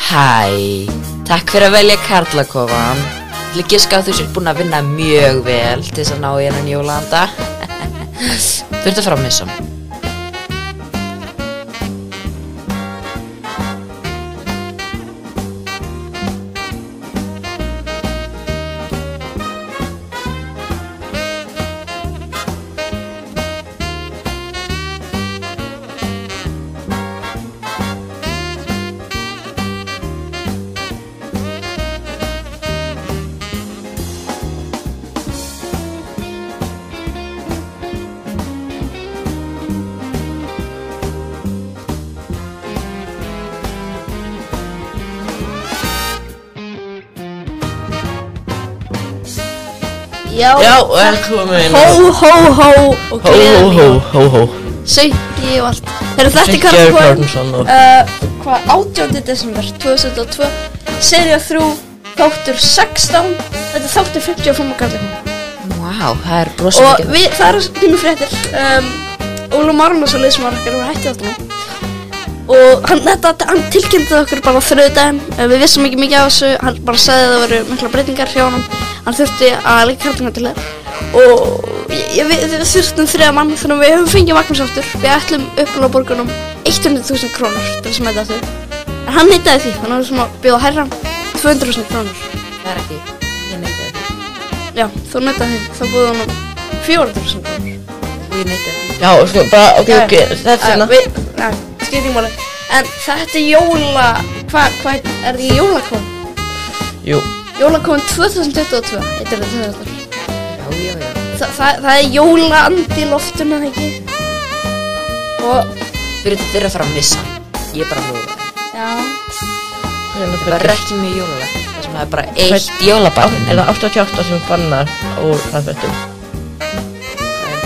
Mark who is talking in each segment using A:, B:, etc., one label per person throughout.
A: Hæ, takk fyrir að velja Karlakofan. Ég vil giska að þú sér búin að vinna mjög vel til þess að ná í hennan jólanda. þú ert að fara á missum.
B: Já,
C: Já, og er komin
B: hó, hó, hó og
C: hó,
B: gleðan
C: hó,
B: mín og
C: hó, hó
B: söngi og allt Þegar þetta er
C: Geir
B: Karlakofan
C: Kárnason og
B: uh, Hvað, 18. desember 2002 Serja 3, þáttur 16 Þetta er þáttur 55 á Karlakofan
A: Vá, það er brosa
B: og
A: mikið.
B: við, það er tími fréttir um, Ólum Arnason liðsmaður okkar var hættið þáttunum og hann, þetta, hann tilkynnti okkur bara þrjóðdæðin við vissum ekki mikið af þessu hann bara sagði að það voru mikla breytingar hjá hann hann þurfti að leika karlingar til þeir og ég, ég, við, við þurftum þriða mann þannig að við höfum fengið Magnús aftur við ætlum uppláð borgunum 100.000 krónur til þess að mæta þau en hann neytaði því, þannig að við sem að bjóða hærra 200.000 krónur
A: Það er ekki, ég neyta það.
B: já, þú neytaði því, þá búið hann 400.000 krónur
A: Og ég neyta það.
C: Já, sko, bara, ok,
B: Já, já.
C: ok, þetta er hérna
B: við, ja, skiptum máli En þetta er jóla, hvað hva er þetta ekki jólakón?
C: Jú,
B: Jólakón 2022, heitir þetta þetta
A: Já, já, já.
B: Þa, það, það er jólaandi í loftinu, eða ekki? Og,
A: Fyrir þetta þeirra að fara á missa. Ég er bara að lúða.
B: já,
C: hérna
A: Það
C: fyrir
A: var ekki mjög jólalag. Það sem það er bara eitt jólabarn.
C: Er það 88 sem bannar úr hraðfettum?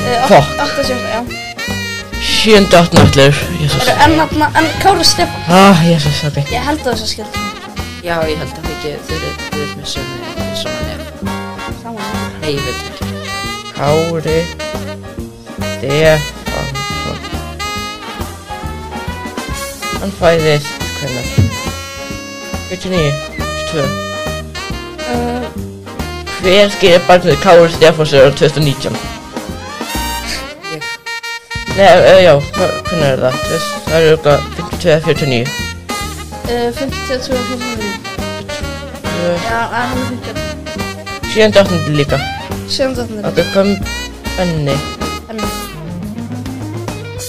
B: eh,
C: Fuck.
B: 87, já
C: 7. 8. allir, jæsus
B: Eru En, þarna- en Kári Stefán,
C: Ah, jæsus, ok
B: ég held að þess að skilja
A: Já, ég held að þau ekki, þau eru með sömu, svona nefn.
B: Saman
A: Nei, ég veit ekki.
C: Kári Stefansson Hann fæðist hvernig 49 2
B: uh,
C: Hver skýrir barnið Kári Stefansson árið 2019?
A: Ég,
C: Nei, uh, já, hvernig er það? Þess, það eru okkar 52 49
B: uh, 52, 55 Já, það er hann er 50
C: 7. 8. líka
B: 7.
C: Ok, kom Benni Ah.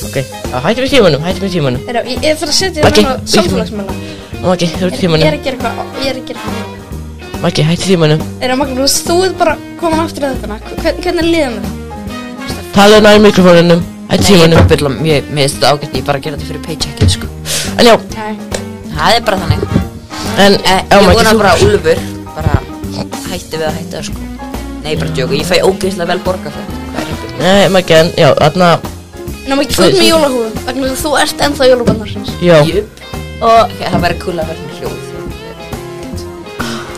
C: Ok, ah, hættu með tímanum, hættu með tímanum
B: Heyrðu, ég, ég þarf að setja
C: Maggi,
B: hérna á
C: víkjum.
B: samfélagsmæla
C: Maggi, þú ert í
B: Ég er
C: tímanum
B: að gera eitthvað, ég er að gera eitthvað
C: Maggi, hættu tímanum
B: Eða Magnús, þú ert bara komin aftur að þetta Hvern, Hvernig er liðan þetta?
C: Talaðu nær mikrofónunum
A: Nei, ég
C: Hættu
A: er
C: tímanum
A: bara að byrla, mér mér finnst þetta ágætt, ég er bara að gera þetta fyrir paycheckið, sko.
C: En já,
B: Nei
A: Það er bara þannig.
C: en
A: Eh,
C: já,
A: ég
C: Maggi,
A: vona
C: þú-
A: bara að Úlfur bara hætti við að hætta það sko Nei, bara djóka, ég fæ ógeðslega vel borga fyrir þetta Hvað er einhver?
C: Nei, maður genn, Eh, já, þarna,
B: Nefnum ekki, þú ert með jólahúfu Magnús, þú ert ennþá jólabannarsins
C: já,
A: Jöp
B: Og
A: Ok, Það væri kúl að vera með hljóð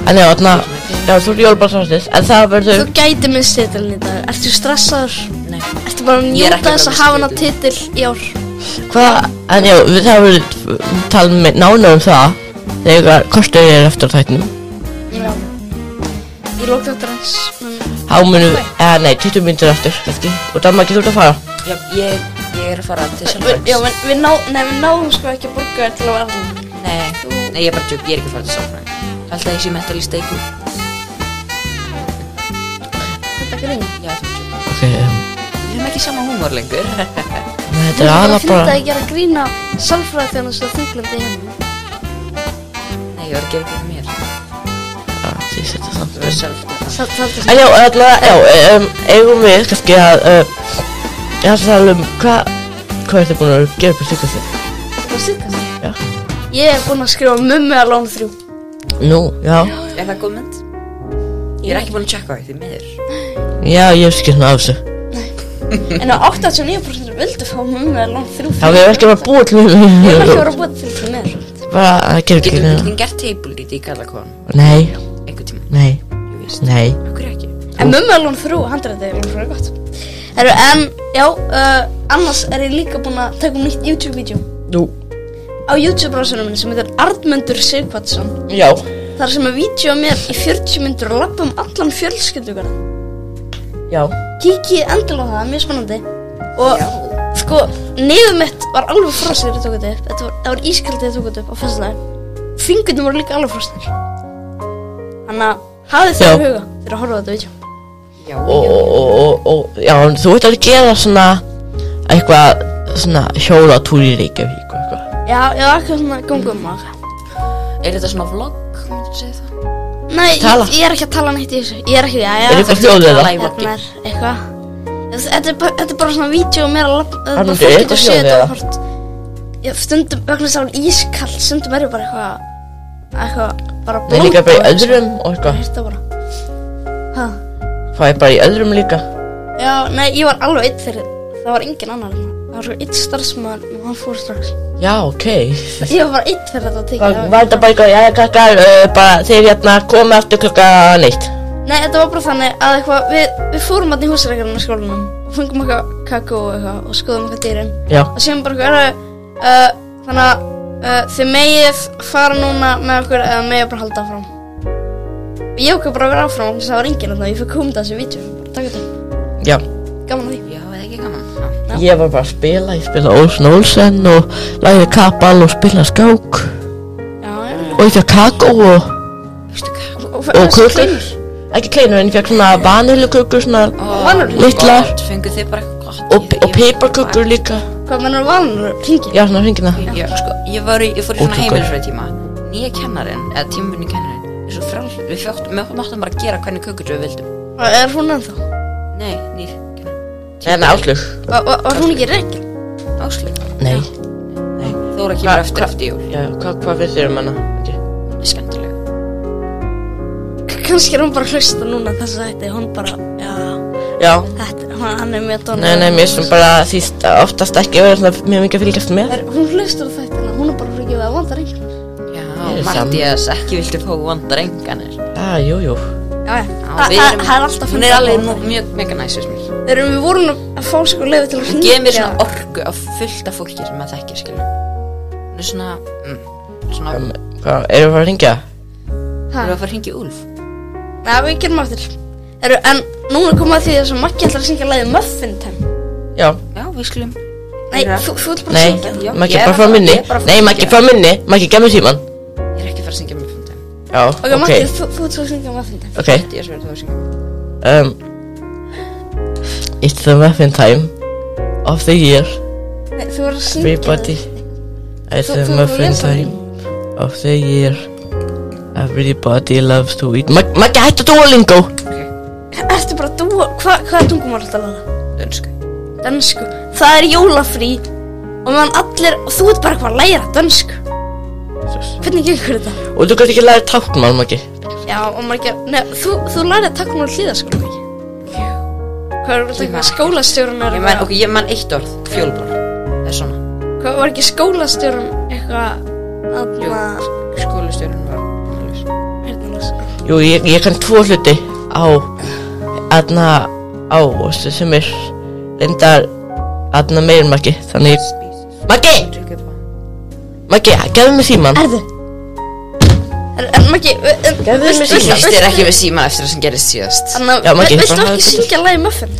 C: en já, þarna, já, þú ert jólbarnsvarslis, en það verður,
B: þú gæti minnst titilin í dag Ertu stressaður?
A: Nei
B: Ertu bara að
A: Ég er ekki
B: njóta
A: að
B: þess að
A: missa
B: hafa hana
A: titil.
B: titil í ár?
C: hvað, en já, við það verður tala með nána um það, þegar kostur er eftir á þættinum,
B: Já Ég lók þetta eins mm.
C: þá munum, eða eh, nei, 20 myndir eftir, kannski, og það maður ekki þú ert að fara,
A: Já, ég, ég er að fara til
B: Við- Já,
A: Sálfræðings
B: við, við, ná, nei, við náðum sko ekki að borga þér til að vera hann
A: Nei, nei, ég er bara djóka, ég er ekki að fara til Sálfræðings Alltaf ég sé mentalist eitthvað
B: Þetta grín
A: Já, þú djóka
C: ok, um,
A: Við höfum ekki sama húmor lengur
C: þetta
B: Þú
C: er
B: bara
C: aðla
B: að finna
C: bara,
B: að gera grína Sálfræði þegar þess að þunglandi hjemme
A: Nei, ég var að gera ekki mér
C: já, því Ah, setja samt,
A: Þú er Sálfræðings
B: Það það er
C: en já, þarna, já, um, eigum við, kannski að, um, ég hans að tala um, hvað, hvað ertu búin að gera upp í sykast þig,
B: það síðkast
C: já,
B: Ég er búin að skrifa mummi að lána þrjú
C: nú, já,
A: Er það góð mynd? Ég er ekki búin að checka á því miður
C: já, ég hef skilnað af þessu.
B: En á 89% vildu fá mummi að lána þrjú
C: Já, við erum ekki bara búið til
B: Ég er ekki að
C: mér
B: vera búið til því mér
C: Bara, það gerir
A: Getum
C: ekki
A: við
C: neina
A: ekki gert table í Gallakon
C: Nei,
A: Einhvern tíma,
C: nei,
A: ég veist
C: nei
A: Akkur ekki
B: En mummi að lána þrjú, handræði er alveg fyrir gott Heru, En, já, uh, annars er ég líka búin að taka um nýtt YouTube-vídeó
C: Nú,
B: á YouTube-brásunum minni sem heitir Arnmundur Sigvatsson
C: Já,
B: þar sem er vídeo af mér í 40 myndur og lappa um allan fjölskyldugarðan
C: já,
B: kíkið endilega á það, það er mjög spennandi og sko, nefum mitt var alveg frosið þegar ég tók þetta upp þetta var, það var ískaldið þegar ég tók þetta upp á fyrstudaginn fingurnir voru líka alveg frosnir þannig að hafið það í
C: Já.
B: huga þegar að horfa á þetta vídeo
A: Já,
C: og,
A: já.
C: og, og, og, já, en þú veit að gera svona, eitthvað, svona hjólatúr í Reykjavík og eitthvað.
B: já, já, eitthvað svona um gungum og eitthvað
A: Er þetta svona vlogg, myndir segja það?
B: Nei, ég,
C: Tala.
B: ég er ekki að tala neitt í þessu Ég er ekki, já, já
C: Er eitthvað hljóð eða?
A: Tala í vloggi.
B: Hérna er eitthvað Þetta er, bara- þetta er bara svona vídeo og mér að labba- þetta er bara
C: Arnaldur,
B: fólk
C: er
B: getur
C: eitthvað
B: séð
C: hljóð
B: þetta
C: eða?
B: og hort Já, stundum, vegna þess að hún ískall Stundum er ég bara eitthvað Eitthvað, bara
C: Nei,
B: blóð
C: líka bara í öðrum og eitthvað.
B: Hérta bara Hæ?
C: Það er bara í öðrum líka.
B: Já, nei, ég var alveg einn fyrir Það var engin annar hérna Það var svo einn starfsmann og hann fór strax
C: Já, ok.
B: Ég var bara einn fyrir þetta að tekið
C: Það var þetta bara eitthvað, jæja krakkar, uh, bara þeir hérna komið aftur klukkan eitt.
B: Nei, þetta var bara þannig að eitthvað, við, við fórum alltaf í húsreikjarinn í skólanum og fengum eitthvað kakó og eitthvað og skoðum eitthvað dýrin
C: Já,
B: og séum bara eitthvað uh, þannig að uh, þið megið fara núna með okkur eða megið bara halda áfram og ég okkur bara að vera áfram og það var enginn þannig að ég fyrir komið þessu vítjum bara taka þetta,
C: já.
B: gaman að því
A: Já, það er ekki gaman. Já.
C: Ég var bara að spila, ég spila Olsen Olsen og lagði kappal og spila skák
B: Já, já, já
C: og ég fekk kakó og,
A: Veistu hvað?
B: Og,
C: og
B: þessi
C: kökur.
B: kleinur.
C: Ekki kleinur en ég fekk svona vanilukökur svona
B: Vanur.
C: Litlar.
A: gott, Fenguð þið bara eitthvað gott.
C: og, og piparkökur líka.
B: Hvað mennur vanur hringi?
C: Já, svona hringina.
A: Já, sko, ég, var, í- ég fór í svona
C: Ótrúlega.
A: heimilisfræði tíma Nýja kennarinn, eða tímunni kennarinn er Svo frál, við fjótt, við máttum bara gera hvernig kökur við vildum
B: Og er hún ennþá?
A: Nei, nýr kennarinn
C: En áslug.
B: Var, var, var hún ekki reikil?
A: Ásli
C: Nei.
A: Þóra
C: Hva-
A: kemur eftir
C: hva-
A: eftir jól
C: Já, hvað, hvað finnst þér um hana? Okay.
A: Hún er skemmtileg
B: Kannski er hún bara að hlusta núna þess að þetta, hún bara, já,
C: Já.
B: þetta, hann, hann er mjög dónur.
C: Nei, nei, mér sem bara þýst oftast ekki verið svona mjög mikið að fylgjast með.
B: Er, hún hlustur á þættina, hún er bara fyrir ekki við að vanda reiknar.
A: Já,
C: Ég er
A: Mattias, ekki viltu fá vandar enganir
C: Ah, jú, jú.
B: Já, já.
A: Já,
B: Þa-
A: við
B: Það
A: erum-
B: það er alltaf
A: Hún er alveg nú- mjög mega næs við mér
B: Þeir eru við vorum að- að fá sko leiði til að
A: Hún
B: hringja.
A: gefur mér svona orku af fullt af fólki sem maður þekkir, skilur Hún er svona, mm, svona
C: Um, Hvað, erum við að fara að ringja?
A: Þú erum
B: Ha,
A: að fara að hringja í Úlf
B: Nei, við gerum aftur. Eru, en núna komum við að því þess að Maggi ætlar að syngja leiði Muffin Time.
C: Já.
A: Já, við skulum
B: Nei,
A: Heyra.
B: þú, þú ert bara að
C: Nei,
B: syngja.
A: Já,
C: maður
A: ég
C: ekki
A: er
C: bara frá
A: að-
C: minni.
A: ég er bara að
C: Nei,
A: fara
C: maður
A: að
C: ekki frá minni. Maður ekki gemmi síman.
A: Ég er ekki að fara að syngja með fundum
C: Já,
B: Ok, okay. Maggi, þú, þú ert svo að syngja Muffin Time.
C: Ok,
A: Mattias verður þá að syngja
C: um, it's the muffin time of the year,
B: Nei, þú ert að syngja.
C: everybody. It's
B: Þú-
C: the
B: þú- þú
C: muffin
B: lesa
C: time of the year, everybody loves to eat. Mag- Maggi, hættu duolingo!
B: Ertu bara að dúa, hva, hvað er tungumál alltaf lega?
A: Dönsku
B: Dönsku. Það er jólafrí og meðan allir, og þú ert bara eitthvað að læra dönsku. Hvernig gengur þetta?
C: Og þú gæti ekki læra táknmál, Maggi.
B: Já, og maður ekki, nei, þú, þú lærið takkum úr hlýðaskóla, ekki? Hvað er
A: Ég man
B: þetta
A: ekki.
B: skólastjórun er
A: Ég man, ok, ég man eitt orð, fjólból Það er svona
B: Hvað var ekki skólastjórun eitthvað aðna
A: Skólastjórun var heyrnarlaus.
B: heyrnarlaus?
C: Jú, ég, ég kann tvo hluti á, aðna, á, veistu, sem er, reyndar, aðna meir, Maggi, þannig, Maggi,
A: Drukku upp á-
C: Maggi, gefðu mér síman.
B: Erðu? En, en Maggi,
C: Gefðu mér
A: Þú
C: Ég-
A: hlýst þér ekki við síman eftir það sem gerist síðast
B: Þannig
C: Já,
B: að,
C: Maggi,
B: vil- viltu
C: bara
B: ekki
C: hafðu
B: syngja lagi Muffin?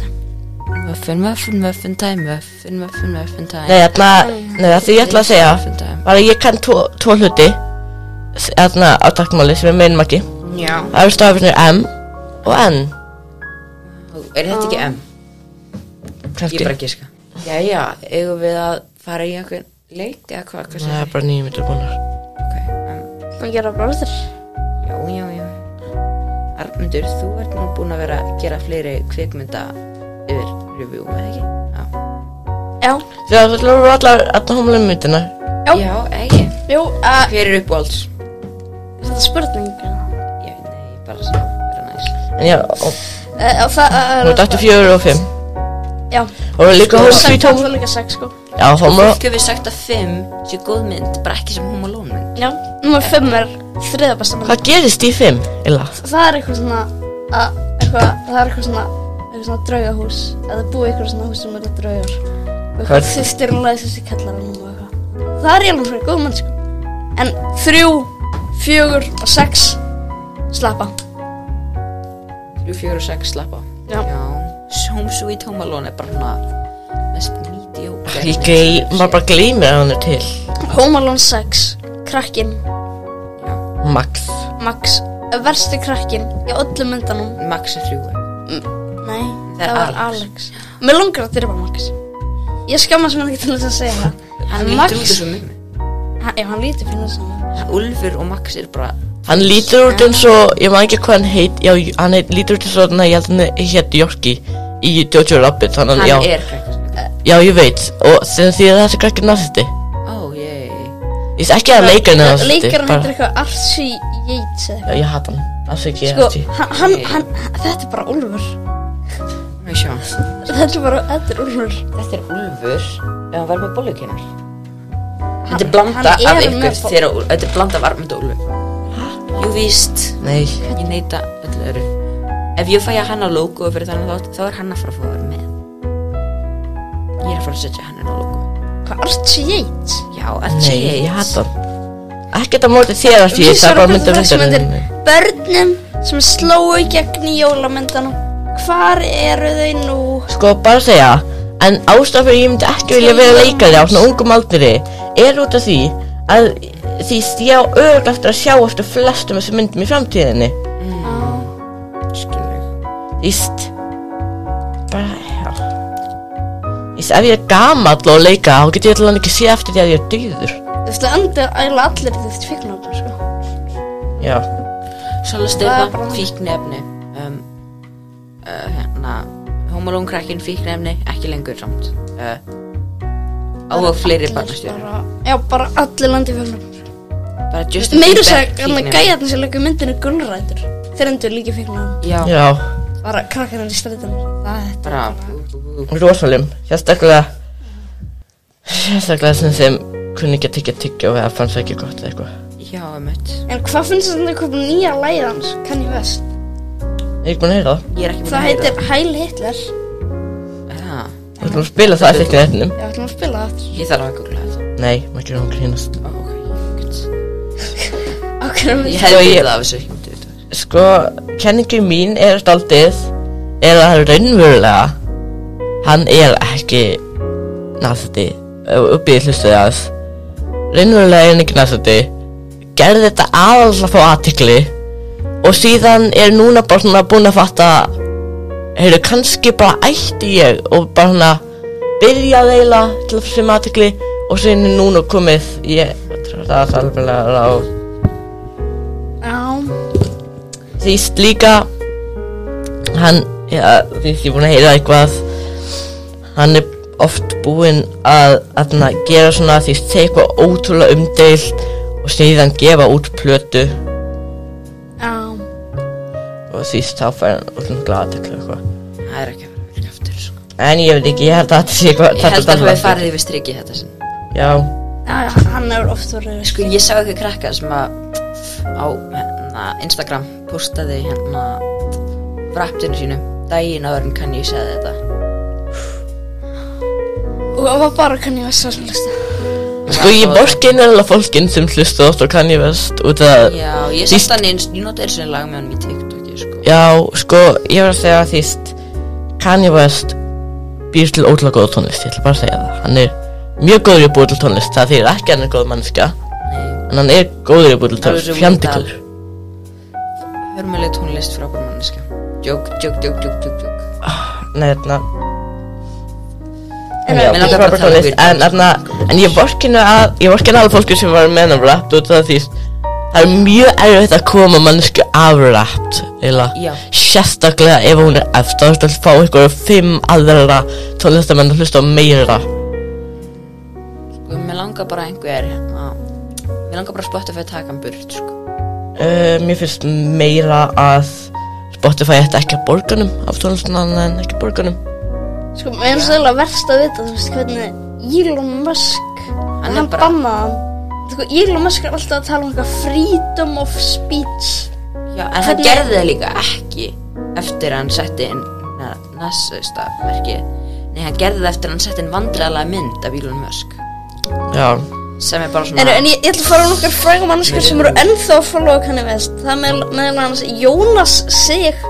A: Muffin, muffin, muffin time Muffin, muffin, muffin time
C: Nei, þarna, nei, það því ég ætla að segja
A: Muffin time
C: Bara ég kann tvo, tvo hluti s- Þarna á takkmáli sem er meinum ekki
A: Já
C: Það eru stafirnir M og N
A: Er þetta ekki M? Ég
C: Kanski
A: er bara að gíska Jæja, eigum við að fara í einhvern leik eða hvað, hvað
C: Það
A: segir
C: er bara nýjum myndir búinnar
A: Ok, um,
B: Það gera bara þér.
A: já, já, já Arnmundur, þú ert nú búin að vera að gera fleiri kvikmynda yfir review, eða ekki? Já,
B: Já,
C: Þegar það eru allar Þarna homlum myndirna
B: Já.
A: já ekki
B: jú, uh,
A: Hver er uppáhalds?
B: þetta er spurning.
A: Ég veit, nei, bara sem að vera næs
C: En já, og-
B: Uh, það
C: hún
B: er...
C: er dættu fjögur og fimm
B: Já.
C: Og hún er líka
B: Og
C: hóð
B: sex,
C: því
B: Það
C: tóm
B: er líka sex, sko.
C: Já, homla
A: Fólk hefur sagt að 5 sé góð mynd, bara ekki sem Home Alone mynd.
B: Já. Númer fimm er þriða besta mynd.
C: Hvað gerist í fimm, Illa?
B: Það er eitthvað svona, að, eitthvað, það er eitthvað svona, eitthvað svona draugahús. Eða búið eitthvað svona hús sem eru draugar. Og
C: Hvað er-
B: eitthvað þýstir hún lagði þessi kallar og eitthvað. það er ég alveg fyrir góð mannsku en þrjú, fjögur og sex slappa
A: Þrjú, fjögur og sex slappa
B: Já.
A: Home Sweet Home Alone er bara svona mest mediocre
C: Ég gley, maður bara gleymir að hann er til
B: Home Alone 6 krakkin,
C: Max
B: Max versti krakkin í öllum myndanum
A: Max er þrjú
B: nei,
A: Það er
B: það var
A: Alex.
B: Alex mér langar að dyrfa Max ég skammast mér ekki til þess að segja það
A: Hann
B: En
A: lítur út
B: Max,
A: þessu mummi
B: hann, ef hann lítur fyrir þess að
A: Ulfur og Max er bara
C: Hann lítur út eins og, ég maður ekki hvað hann heit Já, hann heit, lítur út eins og, na, ég held hann hétt Jokki Í Jojo Rabbit, þannig
A: Hann
C: að, já
A: er krakkarspil
C: Já, ég veit, og þegar því að þessi krakkir narsisti
A: Ó, jei
C: Ég veist ekki að leikarinn er narsisti
B: leikarinn
C: bara-
B: heitir eitthvað Archie Yates eða eitthvað.
C: Já, ég hata hann, afsækki ég
B: Sko,
C: hati
B: hann, hann, hann, þetta er bara Úlfur
A: Má ég sjá Þetta
B: Þetta er bara, þetta er Úlfur
A: er Ulfur Ef hann væri með bollukinnar Þetta er blanda
B: hann er
A: af
B: með
A: ykkur
B: boll-
A: þegar Þetta er blanda af Armand og Ulfur Jú, víst
C: Nei,
A: Ég neita öllu öru Ef ég fæ að hanna logo fyrir þannig þátt Þá er hann að fara að fá að vera með Ég er að fara að setja hann inn á logo
B: Hvað, Archie Yates?
A: Já, að
C: nei, ég hata hann Ekkert að móti þér að því, það er bara mynda myndarinn
B: Börnum sem slóu í gegn í jólamyndanum Hvar eru þau nú?
C: Sko, bara að segja, en ástæðan fyrir ég myndi ekki vilja vera leikari á svona ungum aldri er út af því að því ég á örugglega eftir að sjá eftir flestum þessum myndum í framtíðinni.
B: Ah.
A: Skilur
C: Íst, bara, já. Íst, ef ég er gamall og leika, þá get ég allan ekki sé eftir því að ég er döður.
B: Þú veist, það endur ægilega allir í þetta fíknöfnum, sko
C: Já,
A: Sala
B: Það er
A: Stefán,
B: bara-
A: fíknefni um, uh, Hérna Homolón krakkin fíknefni Ekki lengur samt uh, Á og fleiri barnastjóður
B: Bara- Já, bara allir landi fíknöfnum
A: Bara Justin
B: Meira
A: Bieber
B: sér, hann að
A: fíkniefni.
B: gæja þess að leika myndinu gulrætur Þeir endur líka fíknöfnum
A: Já,
C: já,
B: Bara krakkarinn í strætinu Það er
A: bara bú, bú, bú.
C: rosalum, sérstaklega, sérstaklega sem sem kunni ekki að tyggja tyggja og það fannst ekki gott eða eitthvað.
A: Já, emitt
B: En hvað finnst þetta að koma nýja lægið hans? Kanye West
C: Ég er ekki búin að heyra það.
A: Ég er ekki búin
B: Það
A: að
B: heitir Heil Hitler
A: heyra það.
C: Þú ætlum að spila það eftir ekki nefnum.
B: Ég ætlum að spila það
A: Ég þarf að googla þetta
C: Nei, maður ekki hún grínast.
A: Ó, ok, ég
B: Okkur er
A: Ég
B: við
A: hefði vitað af þessu ég myndi vita af þessu.
C: Sko, kenningu mín er staldið er að hann raunverulega hann er ekki nasisti uppið hlustuði aðeins raunverulega er hann ekki nasisti gerði þetta aðal að fá aðtikli og síðan er núna bara svona búin að fatta heyrðu, kannski bara ætti ég og bara svona byrjaði eiginlega til að fá sem aðtikli og síðan er núna komið ég, það er alveg ráð
B: Já,
C: Þýst líka Hann, já, því ég er búin að heyra eitthvað Hann er oft búinn að, að gera svona því segja eitthvað ótrúlega umdeilt og síðan gefa út plötu
B: já
C: og því þá fær hann útlum glaðatekla eitthvað
A: Það er ekki að fara að virka aftur sko.
C: En ég veit ekki, ég held að þetta sé eitthvað
A: Ég
C: þetta
A: held að
C: dálítið
A: við farið yfir strikið þetta sinn
C: Já,
B: Já, já, hann hefur oft verið
A: Sko ég sá eitthvað krakka sem að á hérna, Instagram postaði hérna rapptinu sínu daginn áður en kann ég segja þetta
B: Og það var bara Kanye West sem hlusta
C: sko ég borgin er alveg fólkin sem hlusta oft og kann ég veist út að
A: Já, ég
C: Þýst-
A: satt hann eins, ég nota eins og einn lag með hann í TikToki sko
C: Já, sko, ég var að segja að þýst Kanye West býr til ótrúlega góða tónlist, ég ætla bara að segja það Hann er mjög góður í að búa til tónlist Það þýðir ekki að hann er góð mannska
A: Nei,
C: En hann er góður í að búa
A: Það
C: til
A: er
C: tónlist,
A: svo
C: fjandikur
A: hörmuleg tónlist frá bara manneska Jók, jók, jók, jók, jók, jók
C: Nei, þarna
B: En
C: Já,
A: mig
C: býr
A: langar
C: til
A: bara að
C: frábær
A: tala um
C: tónlist
A: Weird
C: En þarna, en ég vorkinu að Ég vorkinu alveg fólki sem var með hann rapt Út af því það er mjög erfitt að koma mannsku af rapt
A: Já.
C: Eila Sérstaklega ef hún er eftir Þú ert að fá ykkur fimm aðra tónlistamenn að hlusta á meira
A: Sko, mér langar bara einhver hérna Mér langar bara að Spotify taka hann burt sko
C: Uh, mér finnst meira að Spotify ætti ekki að borgunum af tónlistunan en ekki borgunum
B: Sko, mér finnst það verst að vita, þú veist hvernig Elon Musk
A: Hann
B: Hann,
A: er
B: hann
A: bara-
B: bannaði hann Sko, Elon Musk er alltaf að tala um eitthvað freedom of speech
A: Já, en hann
B: Hvernig-
A: gerði það líka ekki eftir að hann setti inn na- nasista merkið. Nei, hann gerði það eftir að hann setti inn vandræðalega mynd af Elon Musk
C: Já,
A: sem er bara svona
B: En, en ég, ég ætla að fara á nokkar frægum mannskjur sem eru ennþá að followa kanni vest Það er meðal meðal annars Jónas Sig,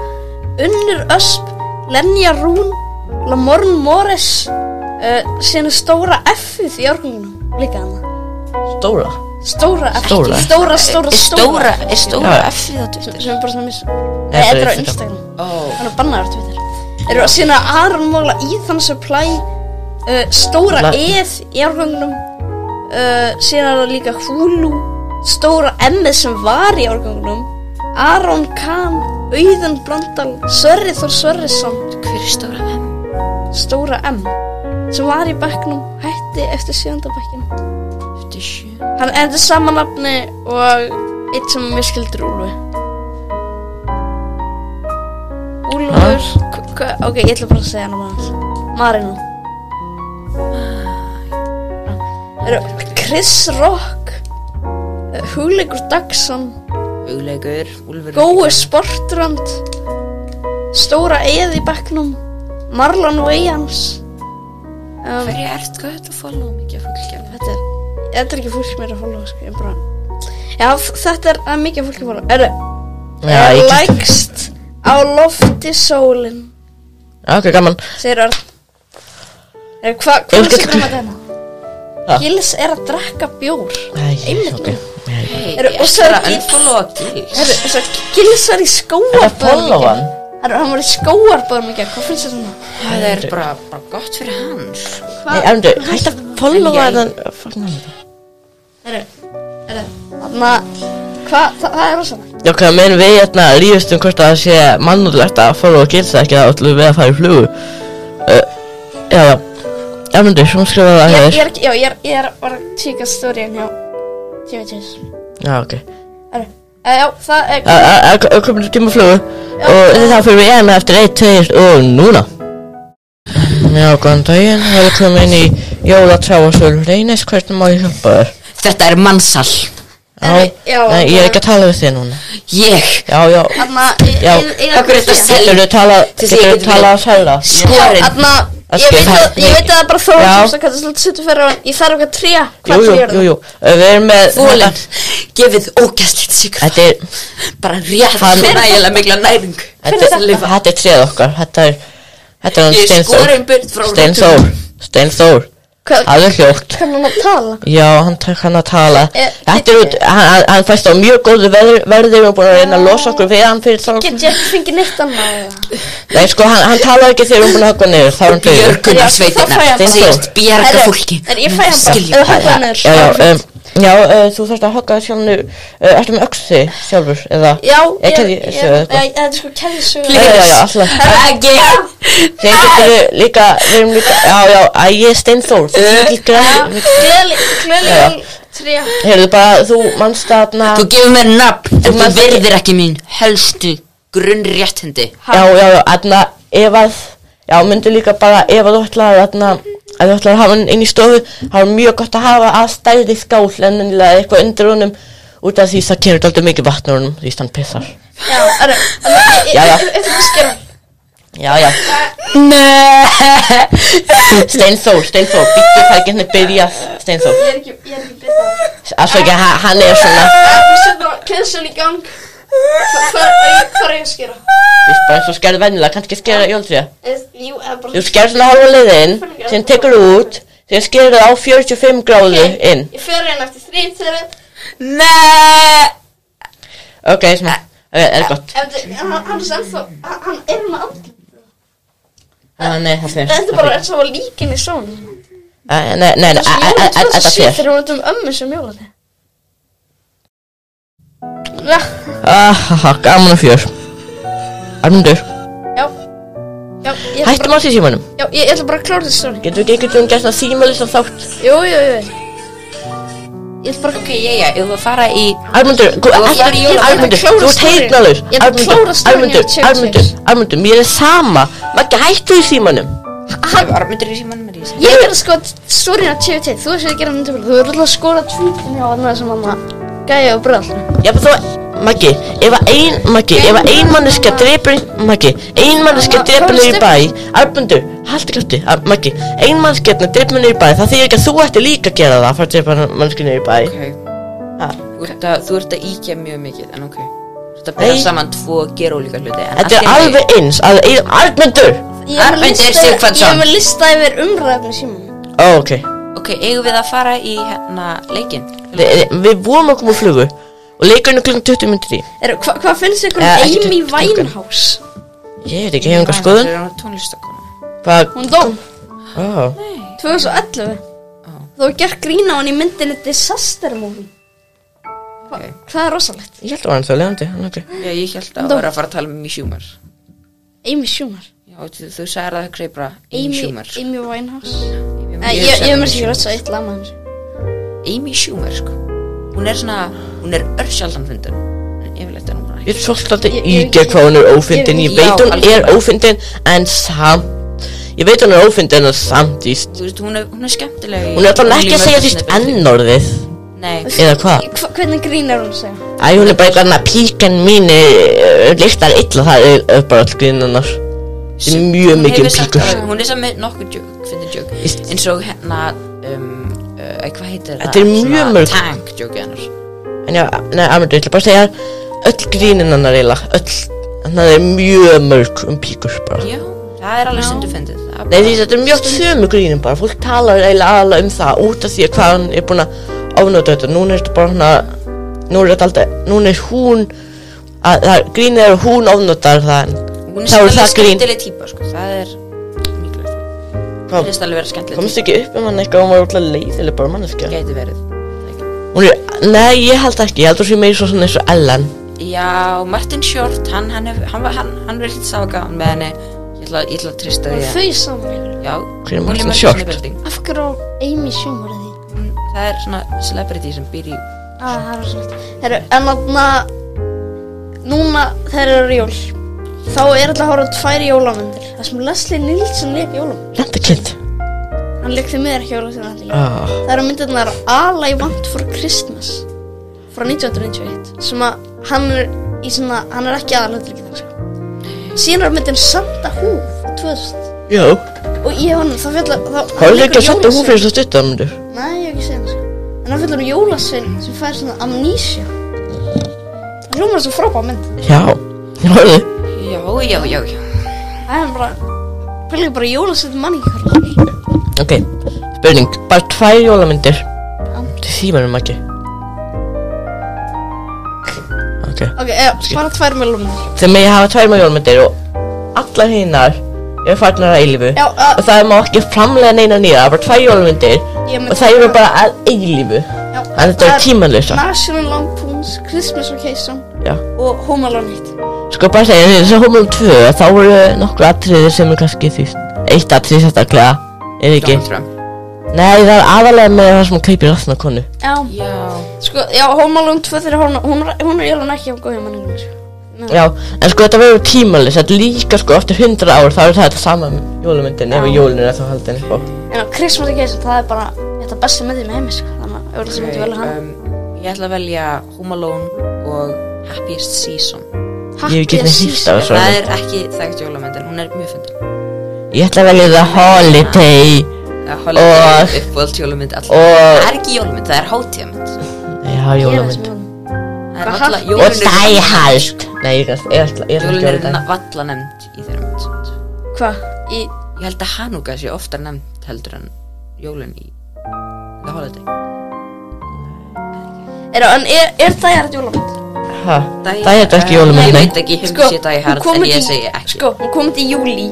B: Unnur Ösp, Lenja Rún, Lamorn Morris uh, Síðan er stóra F-ið í árganginu líka hana
C: Stóra
B: Stóra F,
C: Stóra.
B: ekki stóra, stóra,
A: Er stóra, er stóra
C: Já.
A: F á Twitter?
B: Sem sem er bara svona mis Nei, þetta er
C: bara
B: á Instagram
C: Instagram.
A: Ó,
B: Hann er bannaður á Twitter Eru að síðan að Aron Móla Íðan Supply uh, Stóra
C: La-
B: Eð í árgangunum uh, Síðan er það líka Hulu Stóra Emmið sem var í árgangunum Aron Kahn Auðun Blöndal Sörri Þór Sörrisson
A: hver er stóra M?
B: Stóra M sem var í bekknum hætti eftir sjönda bekkin
A: Eftir sjö
B: Hann er þetta samanafni og eitt sem er mér skildur Úlfi Úlfur hva- hva- Ok, ég ætla bara að segja hann um hans Marino Eru- Chris Rock eh, Hugleikur Dagsson
A: Hugleikur, Úlfur
B: Gói Sportrand Stóra Eð í bekknum Marlon Wayans um,
A: Hverju ert, hvað þetta follow mikið fólk hérna?
B: þetta er, þetta er ekki fólk mér að followa sko, ég bara Já, f- þetta er að mikið fólk að followa Eru, eh,
C: Já, ég kýst
B: lægst á lofti sólin
C: Ok, gaman
B: segir Örn Eru, hva,
C: Ég
B: hvað er
C: skal-
B: þessi gráma þetta?
C: Ha?
B: Gils er að drekka bjór
C: Æ,
B: Einmitt
C: ok.
B: nú.
C: Nei.
A: Hei,
B: Eru-
A: ég
B: og svo
A: ætla
B: er
A: að
B: Gil-
A: unfollowa Gils
B: Eru, þess að Gils var í
C: Er
B: skóarböðum
C: það follow hann?
B: Eru, hann var í skóarböðum ekki, hvað finnst þér svona?
A: Það er bara, bara gott fyrir sko. hans
C: Nei,
B: Hvað-
C: emndu, hætt að
A: En
C: follow
A: ég-
C: hann Fuck, nei.
B: Eru, eru, þarna Hvað, það, það er rosalega
C: Já, hvað meðan við hérna lífust um hvort að það sé mannúðlegt að followa gilsa ekki þá ætlum við að fara í flugu uh, Já, já, myndu, svona skrifa það
B: Ég,
C: hér
B: ég er ekki, já, ég er, ég er bara að tíka stóriðin hjá Tíma tjens
C: Já, ok
B: Herru, eh, Já, það er
C: Að- að- að- að komin tíma flugu og þá fyrir við erum eftir 1, 2 og núna Já, góðan daginn, velkomin í jólatráfarsölu Reynis, hvernig má ég hjálpa þér?
A: Þetta er mannsal
B: Nei, já,
C: Já, nei, ég er
B: það-
C: ekki að tala við þig núna
A: Ég,
C: Já, já,
B: Þarna,
C: Já.
A: Akkur er þetta sel-
C: geturðu talað,
A: Til þess að ég
C: geturðu
A: geti
C: talað að sæla?
A: skorinn
B: Þarna,
C: Það
B: ég
C: skil-
B: veit að, ég veit að það er bara þróa
C: Já.
B: sem það kallast svolítið suttu fyrir hann Ég þarf okkar tríja,
C: Jú,
B: hvað
C: jú,
B: tríja er um.
C: jú,
B: það?
C: jú, Uh, við erum með
A: Fólinn, gefið ógæstlegt sigur
C: Þetta er
A: Bara rétt
C: Hann-
A: fyrir nægilega mikla næring
C: Þetta
A: Til að
C: er,
A: lifa.
C: þetta er treð okkar, þetta er, þetta er hann
A: Ég er
C: Steinþór,
A: skorinn burt frá
C: Steinþór, Steinþór,
B: Hvað,
C: alveg hljótt,
B: kann hann að tala?
C: já hann tek hann að tala,
B: Eh,
C: þetta er út, hann, hann- hann fæst á mjög góðu verði, verði, við erum búin að reyna að losa okkur við hann fyrir þá,
B: Get ég ekki fengið neitt annað eða?
C: nei sko hann, hann talar ekki þegar við erum búin að höggva hann niður, þá er hann
B: Já, þá fæ
C: döður,
B: ég
A: Björgunarsveitina
B: hann.
A: Segist bjarga
B: Herru,
A: fólki
B: herru, ég fæ hann bara.
A: Skilja.
B: Ef hann- höggva hann niður.
C: já, já, um, já, uh, þú þarfst að högga sjálfnu, uh, ertu með öxi sjálfur, eða,
B: Já,
C: ég
B: ég,
C: kæði,
B: ég,
C: já, já,
B: ég, þetta er sko keðisögur
A: Please.
C: já, já, alltaf,
A: Ekki
C: þegar getur við líka, við erum líka, já, já, æ, ég er Steinþór, þú ert
B: Eh.
C: ekki græn,
B: Gleðileg tríja
C: Heyrðu bara, þú mannst þarna
A: Þú gefur mér nafn En þú
C: manst-
A: verðir ekki mín helstu grunnréttindi
C: Já, já, já, þarna ef að Já, myndu líka bara ef að þú ætlar að þarna að þú ætlar að hafa hann inn í stofu þá er mjög gott að hafa að stærði skál en ennilega eitthvað undir honum út af því það kemur alltaf mikið vatn úr honum því hann pissar
B: Já, eru, eru,
C: Já, já.
B: eru, eru, eru,
C: Já, já,
A: Nei
C: Steinþór, Steinþór, býttu það ekki henni byrjað Steinþór,
B: ég er ekki, ég er ekki betað
C: afsvega, hann er svona
B: Þú setur keðsögun í gang Hva- Hvað er hvað er ég að skera?
C: Þú veist bara eins og skerðu venjulega, kannski skera jóltrýja
B: Eð- Jú, eða bara
C: Þú skerðu svona hálfa leiðin, sem tekur þú út sem skerðu á 45 gráðu inn
B: Ég fer hérna eftir þrýn þegar
A: Nei
C: Ok, smá, ok, er gott
B: En hann hann er sem þá Hann hann er með andlum
C: Ah, nei, það fer.
B: Þetta er bara eins og líkin í són
C: Ah, Nei, nei, nei,
B: Þessi jólum
C: þetta
B: 2007
C: fer.
B: þegar hún er um ömmu sem jólati Já,
C: Ah, ha, ha, gaman og fjör. Armundur,
B: já Já, ég ætla
C: hættum
B: bara,
C: að því símanum.
B: já, ég ég ætla bara að klára þessu stóri
C: Getur við getur um gert það símalist að þátt?
B: Jú, jú, jú
A: Ég ætla bara, ok, já, já, ef þú fara í
C: Armundur, gú-
A: Ég-
C: ekki-
A: ég- ég- ég-
C: Armundur,
B: ég- ég-
C: þú ert
B: ég-
C: heyrnalaus.
B: ég- ég-
C: Armundur,
B: klára story
C: Armundur,
B: og check,
C: Armundur, Armundur, mér er sama. Maggi, hættu í símanum.
A: Ég var myndir í símanum er ég sem
B: Ég er að sko Stórin að tjöfi til Þú veist að ég gera myndum Þú er alltaf að skora tvítin hjá hann sem hann gæja og bröðl
C: Já, þú, Maggi, ef að ein, Maggi, ef að ein manneskja drepur, Maggi, ein manneskja
B: Hva-
C: drepur
B: hvað
C: niður í
B: veistu?
C: bæ, Arbundur, haldi krafti, Maggi, ein manneskja drepur niður í bæ, það þýðir ekki að þú ætti líka að gera það, fyrir að drepa manneskja niður í bæ.
A: Ok,
C: Ha,
A: þú ert, að, þú ert að íkja mjög mikið, en ok Þú ert að bera
C: Nei.
A: saman tvo og gera ólíka hluti en
C: Þetta
A: allt í
C: er
A: lagi.
C: alveg eins, að ein, Arbundur,
B: Ég er með
A: Arnbjörn
B: lista-
A: Sighvatsson.
B: ég er með lista yfir umræðinu síman
C: ó, ok,
A: Ok, eigum við að fara í hérna leikinn?
C: Vi- við vorum að koma úr flugu og leikurinn er klukkan 20 minnir í.
B: Hvað hva finnst ykkur
C: Eh,
B: um
C: ekki
B: Amy
C: tuttugu.
B: Winehouse?
C: Ég veit ekki, ég hef engar skoðun,
A: Það er um tónlistakona
C: hvað,
B: Hún dó
C: ó,
B: 2011
A: Ó.
B: Þú var gert grína á hann í myndinni Disaster Movie
A: Ok,
B: Það er rosalegt
C: ég held að hann þá lefandi, hann ekki.
A: já, ég held að það var að fara að tala um Amy Schumer
B: Amy Schumer
A: Já, þú, þú sagði að það kreipra Amy
B: Amy,
A: Schumer sko.
B: Amy Winehouse
A: Amy-
B: Eh, Ég ég er með sér að segja eitt lag með hans
A: Amy Schumer, sko Hún er svona, hún er örsjaldan fundin En yfirleitt er hún bara
C: Ég
A: ekki
C: er svolítið að
B: Ég- ég-
C: ígja hvað hún er ófindin, ég
A: Já,
C: veit hún er
A: algjörlega.
C: ófindin en samt Ég veit hún er ófindin en samt íst
A: Þú veist, hún er, hún er skemmtileg í-
C: Hún er alltaf ekki að segja því
A: Hollywood-
C: ennorðið
A: Nei,
C: Eða hvað?
B: Hva, Hvernig grín er hún að segja?
C: Æ, hún er bara eitthvað annað píkan mín eh, lyktar illa, það er er bara all grínannar Það er mjög
A: Hún hefur
C: mikið um
A: sagt
C: píkur
A: alveg- Hún er samt með nokkur djók, finnir djók
C: Íst.
A: Eins og hérna, um, uh, hvað heitir það?
C: Þetta er mjög
A: Svona
C: mörg.
A: Tank djókið hennar
C: En já, nei, Amundur, ég ætla bara að segja þér öll grínannar eila, öll En það er mjög mörg um píkur bara
A: Já, það er alveg stundu fyndið Það er
C: Nei
A: bara-
C: því þetta er mjög sömu grínin bara, fólk talar eiginlega aðalega um það út af því að hvað hann er búin að ofnóta þetta, núna er þetta bara hana, núna er þetta alltaf, núna er hún, að það er- grínið er að hún ofnótar það en
A: Hún
C: þá er
A: er
C: það grín,
A: skemmtileg típa, sko, það er mikilvægt. Það
C: hvað,
A: finnst alveg vera skemmtileg típa,
C: komst ekki upp um hann eitthvað, hún var alltaf leiðileg bara manneskja.
A: gæti verið.
C: Hún er, nei ég held ekki, ég held að hún sé meira svo svona eins og Ellen,
A: Já, Martin Short, hann, hann, hef, hann, var- hann, hann verið lítið ságan með henni, ég ætla, ég ætla að trista
B: Hún
A: því
B: yeah.
A: að,
B: fau saman
A: já,
C: Hver er
A: Molly
C: Martin
A: Madison
C: Short?
A: í Building.
B: Af hverju á Amy Schumer að því?
A: Hún- Það er svona celebrity sem býr í,
B: Ah, það er svolítið. Herru, en þarna, núna þegar eru jól, þá er alltaf að horfa á tvær jólamyndir. Það sem Leslie Nilsson leik jólamynd.
C: lendakind,
B: Hann leik því miður ekki jólamynd. Ah.
C: ah,
B: Það eru myndirnar All I Want For Christmas frá 1991 sem að hann er í svona, hann er ekki aðalöndur ekki þannig sko. Síðan er myndin Santa Húf frá 2000
C: já,
B: og ég hann, það fjalla, það...
C: hvað
B: hann
C: er ekki
B: leikur
C: að senda hún
B: jólasvein.
C: fyrir þess að stutta Amundur?
B: Nei, ég hef ekki séð hann sko. En hann fyllir um jólasvein sem fær svona amnesia. Það hljómar svo frábæð mynd.
C: Já, já, orðið.
A: já, já, já, já.
B: Það er bara, pælið bara jólasvein manningar.
C: Ok, spurning, bara tvær jólamyndir Til símanum ekki Ok,
B: Ok, eða, bara tvær miljónir.
C: þegar með ég hafa tvær með jólamyndir og allar hinnar eru farnar að eilífu
B: Já, uh,
C: og það má ekki framlega neina nýra, það er bara tvær jólamyndir
B: Ég myndi-
C: og það eru bara að eilífu
B: já.
C: En þetta
B: Það
C: er tímanlösa
B: National Lampoon's Christmas Vacation
C: Já,
B: og Home Alone 1.
C: sko bara segja, þess að hómum tvö þá voru nokkur atriðir sem er kannski því Eitt atrið sérstaklega, er ekki
A: Donald Trump.
C: Nei, það er aðalega með það sem hún kaupir rastna konu
B: Já,
A: Já,
B: sko, já, Home Alone 2 þegar hún, hún, er- hún er jólun ekki á góðja manningar, sko.
C: Já, en sko þetta verður tímalist, þetta er líka sko eftir 100 ár þá er þetta sama jólumyndin ef
B: Já.
C: jólun er þá haldin upp á.
B: En á Christmas Vacation, það er bara, þetta er besti myndið með heimi, sko. Þannig að jólasvein myndi velja hann.
A: um, ég ætla að velja Home Alone og Happiest Season.
C: Ég hef ekki
B: Happy
C: neitt hýrt á
B: Season.
C: þessu.
A: Það er ekki þekkt jólamynd, en hún er mjög fundin.
C: Ég ætla að velja The Holiday
A: Það holiday
C: Og-
A: uppvöld jólumynd alltaf
C: og-
A: Það er ekki jólumynd, það er hátíðamynd
C: Já, jólumynd
B: um
A: Það er valla,
B: Hvað hal-
C: Og
A: jólun
C: Die
A: er
C: Hard Nei, ég ætla, ég ætla, ég ætla
A: Jólun
C: ekki að
A: er
C: velja
A: na-
C: það
A: valla nefnd í þeirra mynd samt.
B: Hvað? Í,
A: Ég held að Hanukkah sé oftar nefnd heldur en jólun í The Holiday
B: er, en er, er það ég að jólamynd?
C: Hæ, Die Hard er ekki jólumynd,
A: Ég
C: nei
A: veit ekki, ég hef
B: Sko,
A: sé Die Hard
B: hún kom
A: en ég
B: út í-
A: segi ekki
B: Sko, hún kom út í júli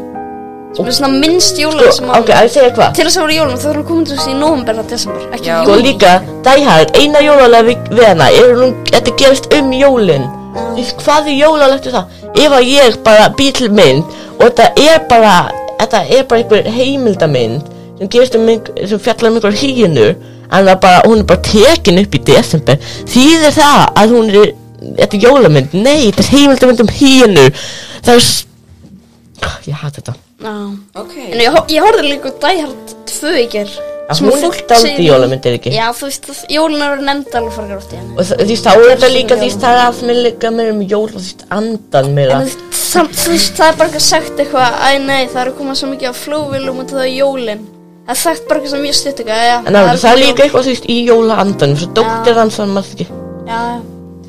B: Sem er svona minnst jólan sem
C: Sko,
B: hann
C: ok, að ég segja hvað
B: Til þess að voru jólan, þá er hún komin til þess í november að desember Ekki
A: Já.
B: í
C: Sko
B: júli
C: líka, Die Hard, eina jólalega við, við hana er hún, þetta gerist um jólin Þú veist, Hvað er jólalegt við það? Ef að ég bara bý til mynd og þetta er bara, þetta er bara einhver heimildamynd sem gerist um, einhver- sem fjallar um einhver híinu en það bara, hún er bara tekin upp í desember þýðir það að hún er þetta er jólamynd, nei, þetta er heimildamynd um híinu það er s- ég hata þetta
B: Já.
A: Ok
B: En ég, hor- ég horfði líka á Die Hard 2 í ger
C: að
B: sem
C: hún
B: fólk
C: er daldi
B: segir-
C: jólamyndir ekki
B: Já, þú veist, það- jólin eru nefnd alveg frekar oft í henni.
C: og þ- þú veist þá er þetta
B: Sem
C: líka þú
B: jól.
C: veist það er allt með líka meira um jól og þú veist andan meira
B: En þú veist, samt, þú veist, það er bara eitthvað sagt eitthvað, æ nei, það eru komað svo mikið á flugvilum og það er jólin. Það er sagt bara eitthvað sem ég stutt eitthvað, já.
C: en alveg, það er
B: jólin.
C: líka eitthvað þú veist í jólaandan svo dóttir hans var maður ekki
B: Já, já.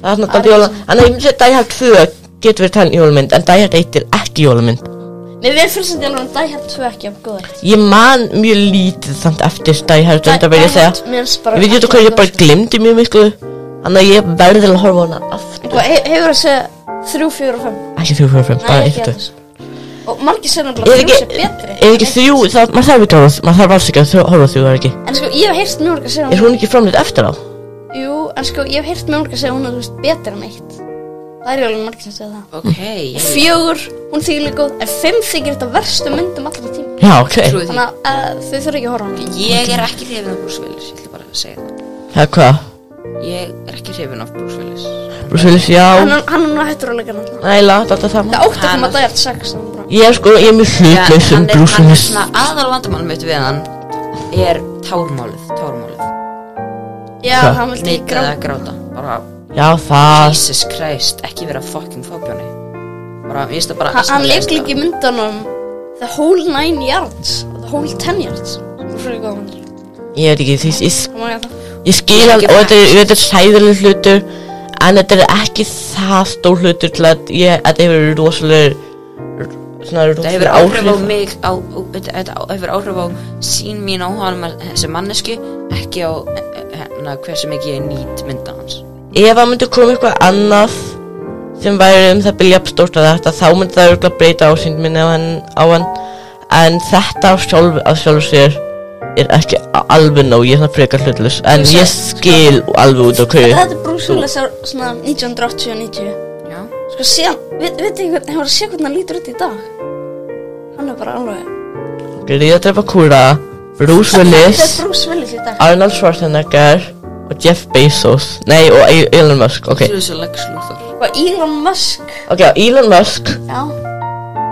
C: það er náttúrulega jóla en ég myndi að dæjar 2 getur verið talin jólamynd en dæjar 1 er ekki jólamynd
B: Nei, við fyrir sem djálfum Die Hard 2 ekki af góður.
C: ég man mjög lítið samt eftir dæjar 2 það verð ég að segja ég veit ekki hvað ég bara glemdi mjög miklu þannig að ég verði til að horfa á hana aftur
B: Hvað, he- hefur það segja 3, 4 og 5?
C: ekki 3, 4, 5, bara 1
B: ekki
C: 2
B: þessu. Og margir segja
C: Er
B: náttúrulega 3
C: ekki,
B: sé betri.
C: er ekki þrjú, það, maður þarf ekki að horfa, maður þarf alls ekki að þrjó- horfa á þrjú, er ekki?
B: En sko, ég hef heyrt mjög orga segja
C: Er hún ekki framleitt eftir á?
B: Jú, en sko, ég hef heyrt mjög orga segja hún er, þú veist, betri en eitt. Það er jólin margir sem segja það.
A: Ok, ég
B: Fjögur, hún þykir líka góð, en fimm þykir þetta verstu myndum allra tíma.
C: Já, ok.
A: trúi því
B: Þannig að uh, þau þurfa ekki að horfa á hann.
A: Ég er ekki hrifin af Bruce Willis, ég ætla bara að segja það
C: Það er hvað?
A: Ég er ekki hrifin af Bruce Willis
C: Bruce Willis,
B: Hann
C: já,
B: er- hann er nú hættur að leika hann alltaf.
C: næla, þetta er
B: Það
C: saman.
B: er ótt að
A: Hann-
B: koma dagjart sex. þannig bara.
C: Ég er sko, ég er mjög
A: Já,
C: hlutlaus um
A: hann er,
C: Bruce
A: hann er
C: Willis.
A: svona aðal vandamál mitt við hann er tármálið, tármálið
B: Já,
C: Hvað?
B: hann vildi ekki
A: Neitaði
B: gráta.
A: að gráta, bara
C: Já, það,
A: Jesus Christ, ekki vera fucking fábjóni Bara, ég veist það bara
B: Hann,
A: ég
B: hann
A: sko.
B: leik
A: veist það.
B: líka í myndunum The Whole Nine Yards og The Whole Ten Yards. Það er fyrir góða myndir.
C: ég veit ekki, því ég, sk-
B: Það má ég það.
C: ég skil
A: Ég er
C: hann,
A: ekki
C: og þetta er,
A: fætt.
C: þetta er sæðileg hlutur, en þetta er ekki það stór hlutur til að ég, þetta hefur rosalega, svona
A: Það hefur
C: rosalega
A: áhrif á
C: áhrif.
A: mig, á, á, þetta þetta á- hefur áhrif á sín mín á hann sem mannesku, ekki á eh, eh, hérna hversu mikið ég nýt mynda hans.
C: Ef það myndi koma eitthvað annað sem væri um það byrja stórt að þetta þá myndi það örgulega breyta ásýnd minni á hann, á hann en þetta á sjálf, á sjálf sér er ekki a- alveg nóg ég er svona frekar hlutlus en
B: Þú
C: ég
B: sérð,
C: skil alveg út á hverju
B: Þetta er Bruce Willis á svona 1980-90.
A: Já.
B: Sko síðan, veit veit ekki hvernig, hefur að sé hvernig hann lítur út í dag. Hann er bara alveg.
C: Gríða drepa kúra Bruce
B: Þetta er
C: Willis
B: Bruce Willis í dag.
C: Arnold Schwarzenegger og Jeff Bezos nei og E- Elon Musk ok
A: Þú þessu Lex Luthor.
B: Og Elon Musk.
C: ok Elon Musk
B: Já.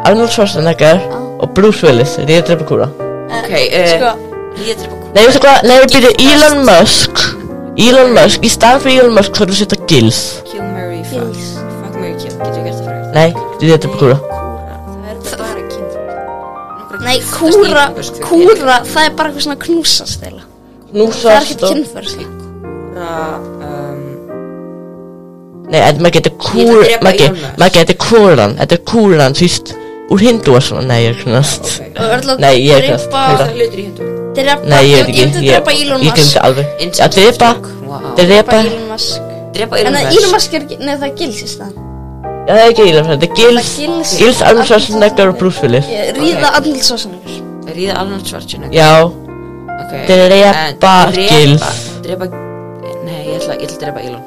C: Arnold Schwarzenegger og Bruce Willis Gríða drepa kúra
A: Ok,
C: eh,
B: Uh,
A: uh,
B: sko,
A: ég drepa kúra.
C: Nei, veistu hvað, nei, byrju, Elon Musk Elon Musk, í staðan fyrir Elon Musk hvað er að setja gils
A: Kill Mary, fuck,
B: Yes.
A: fuck Mary, kill. Getur ég gert það fyrir þér?
C: Nei, þetta er bara kúra
A: Kúra, það er bara kynnt.
B: nei, kúra, kúra, það er bara eitthvað svona knúsast eila.
C: Nú
B: Það er ekkert
C: og
B: kynferðslega.
A: Kúra, um,
C: Nei, en maður getur
A: Ég ætla
C: kúra,
A: að drepa
C: maður
A: Elon
C: getur,
A: Musk.
C: maður getur kúran Þetta er kúran, þú veist, úr hindu og svona Nei, ég er knast
A: ok.
B: Og öll að
C: Nei, ég er ekki að
B: drepa,
A: Það
C: Kúra.
A: er hlutur í hendur.
B: drepa,
C: Nei, ég veit
B: ég myndi
C: ekki,
B: drepa
C: ég,
B: Elon
C: ég glemdi
B: Musk.
C: alveg Já, drepa,
A: Wow.
C: drepa
B: Drepa Elon Musk.
A: Drepa
B: En
A: Elon
B: að
A: Musk.
B: Hérna, Elon Musk er ekki, neða það er gils í staðan.
C: Já, það er ekki Elon Musk, þetta er
B: Það
C: gils
B: er Gils.
C: Gils Arnold Schwarzenegger og Bruce Willis
B: Ég Ríða Arnold Schwarzenegger.
A: Ríða Arnold Schwarzenegger.
C: Já,
A: Okay.
C: Drepa
A: en drepa-
C: Gylf.
A: Drepa, nei, ég ætla, ég ætla að drepa Elon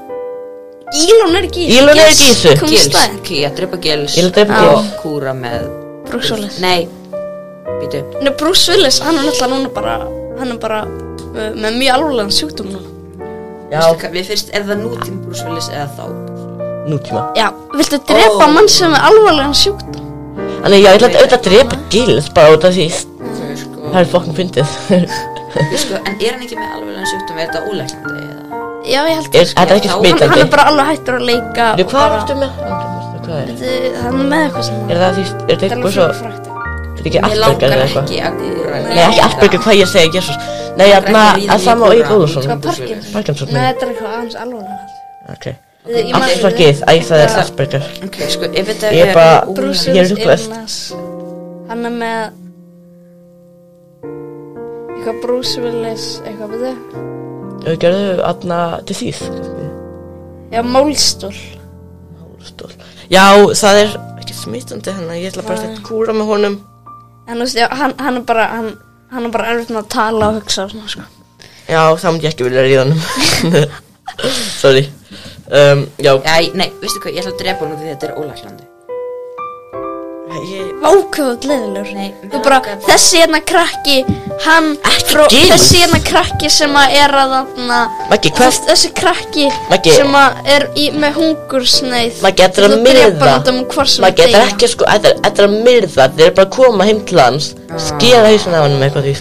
B: Elon er ekki í
C: Elon er ekki í þessu.
B: Kom í
A: Gils,
B: staðin.
A: ok, ég drepa Gils
C: Ég ætla að drepa
A: og
C: Gils.
A: kúra með
B: Bruce Willis.
A: Nei, býtu
B: Nei, Bruce Willis, hann er náttúrulega núna bara, hann er bara uh, með mjög alvarlegan sjúkdóm núna.
C: já,
A: Veistu hvað, Við fyrst, er það nútíma Bruce Willis eða þá?
C: nútíma
B: Já, viltu drepa
A: Ó.
B: mann sem er alvarlegan sjúkdóm?
C: Þannig, já, ég ætla að auðvitað drepa gils Bara út af því,
A: Þau, sko,
C: það er fokkin fyndið
A: ég sko, en er hann ekki með alveg en sjúkdóm, er þetta ólæknandi eða?
B: Já, ég held
C: Er-
B: það.
C: Þetta er ekki
A: Já, hann-
B: Hann, hann
C: smitandi
B: er bara alveg hættur að leika.
C: Þú,
B: og
C: hvað
B: bara-
C: ertu með? Hvað er?
B: Þetta- Hann er með eitthvað sem
C: Er það því, er það
B: Þetta er alveg
C: eitthvað svo,
B: fyrir frækt.
C: er ekki
A: Mér
C: Asperger
A: langar
C: eða eitthvað?
A: ekki að kúra
C: Nei, ekki Asperger, hvað ég hérna, segi, jésus Nei,
A: Ég
C: þarna,
A: er ekki að
C: að sama og
A: ríða í
C: Eir Óðursson
B: Hvað,
A: Bruce Willis.
B: Parkinson?
C: Parkinson,
B: Nei,
C: nei,
B: þetta er eitthvað aðeins alvarlega.
C: ok
B: Ég man ekki-
C: Afsakið, æ, það er Asperger
A: Ok, sko, ef þetta
C: Ég er
A: er
C: bara-
A: ólæknandi-
B: Bruce
C: Ég er
B: Willis
C: ruglaður.
B: illness Hann er með eitthvað Bruce Willis eitthvað við þau
C: Þau gerðu aðna disease
B: Já, málstól
C: Hálfstól Já, það er ekki smittandi hennar, ég ætla bara að setja kúra með honum
B: En þú veist, já, hann, hann er bara hann, hann er bara erfitt með að tala og hugsa og svona, sko.
C: Já, það myndi ég ekki vilja ríða honum Sorry Um, já,
A: Æ, nei, veistu hvað, ég ætla að drepa hann því þetta er ólæknandi
C: ég
B: Vákvöld leðilur
A: Nei,
B: Þú bara,
A: mér langar-
B: þessi hérna krakki hann,
C: Ekki
B: frá,
C: Gylfi.
B: þessi hérna krakki sem að er að þarna
C: Maggi, hvað-
B: þess, þessi krakki
C: Maggi.
B: sem að er í, með hungursneið
C: Maður getur að myrða
B: um
C: Maður
B: maður
C: getur ekki að sko, þetta er- þetta er að myrða Þeir eru bara að koma heim til hans Skera hausinn af hann með eitthvað því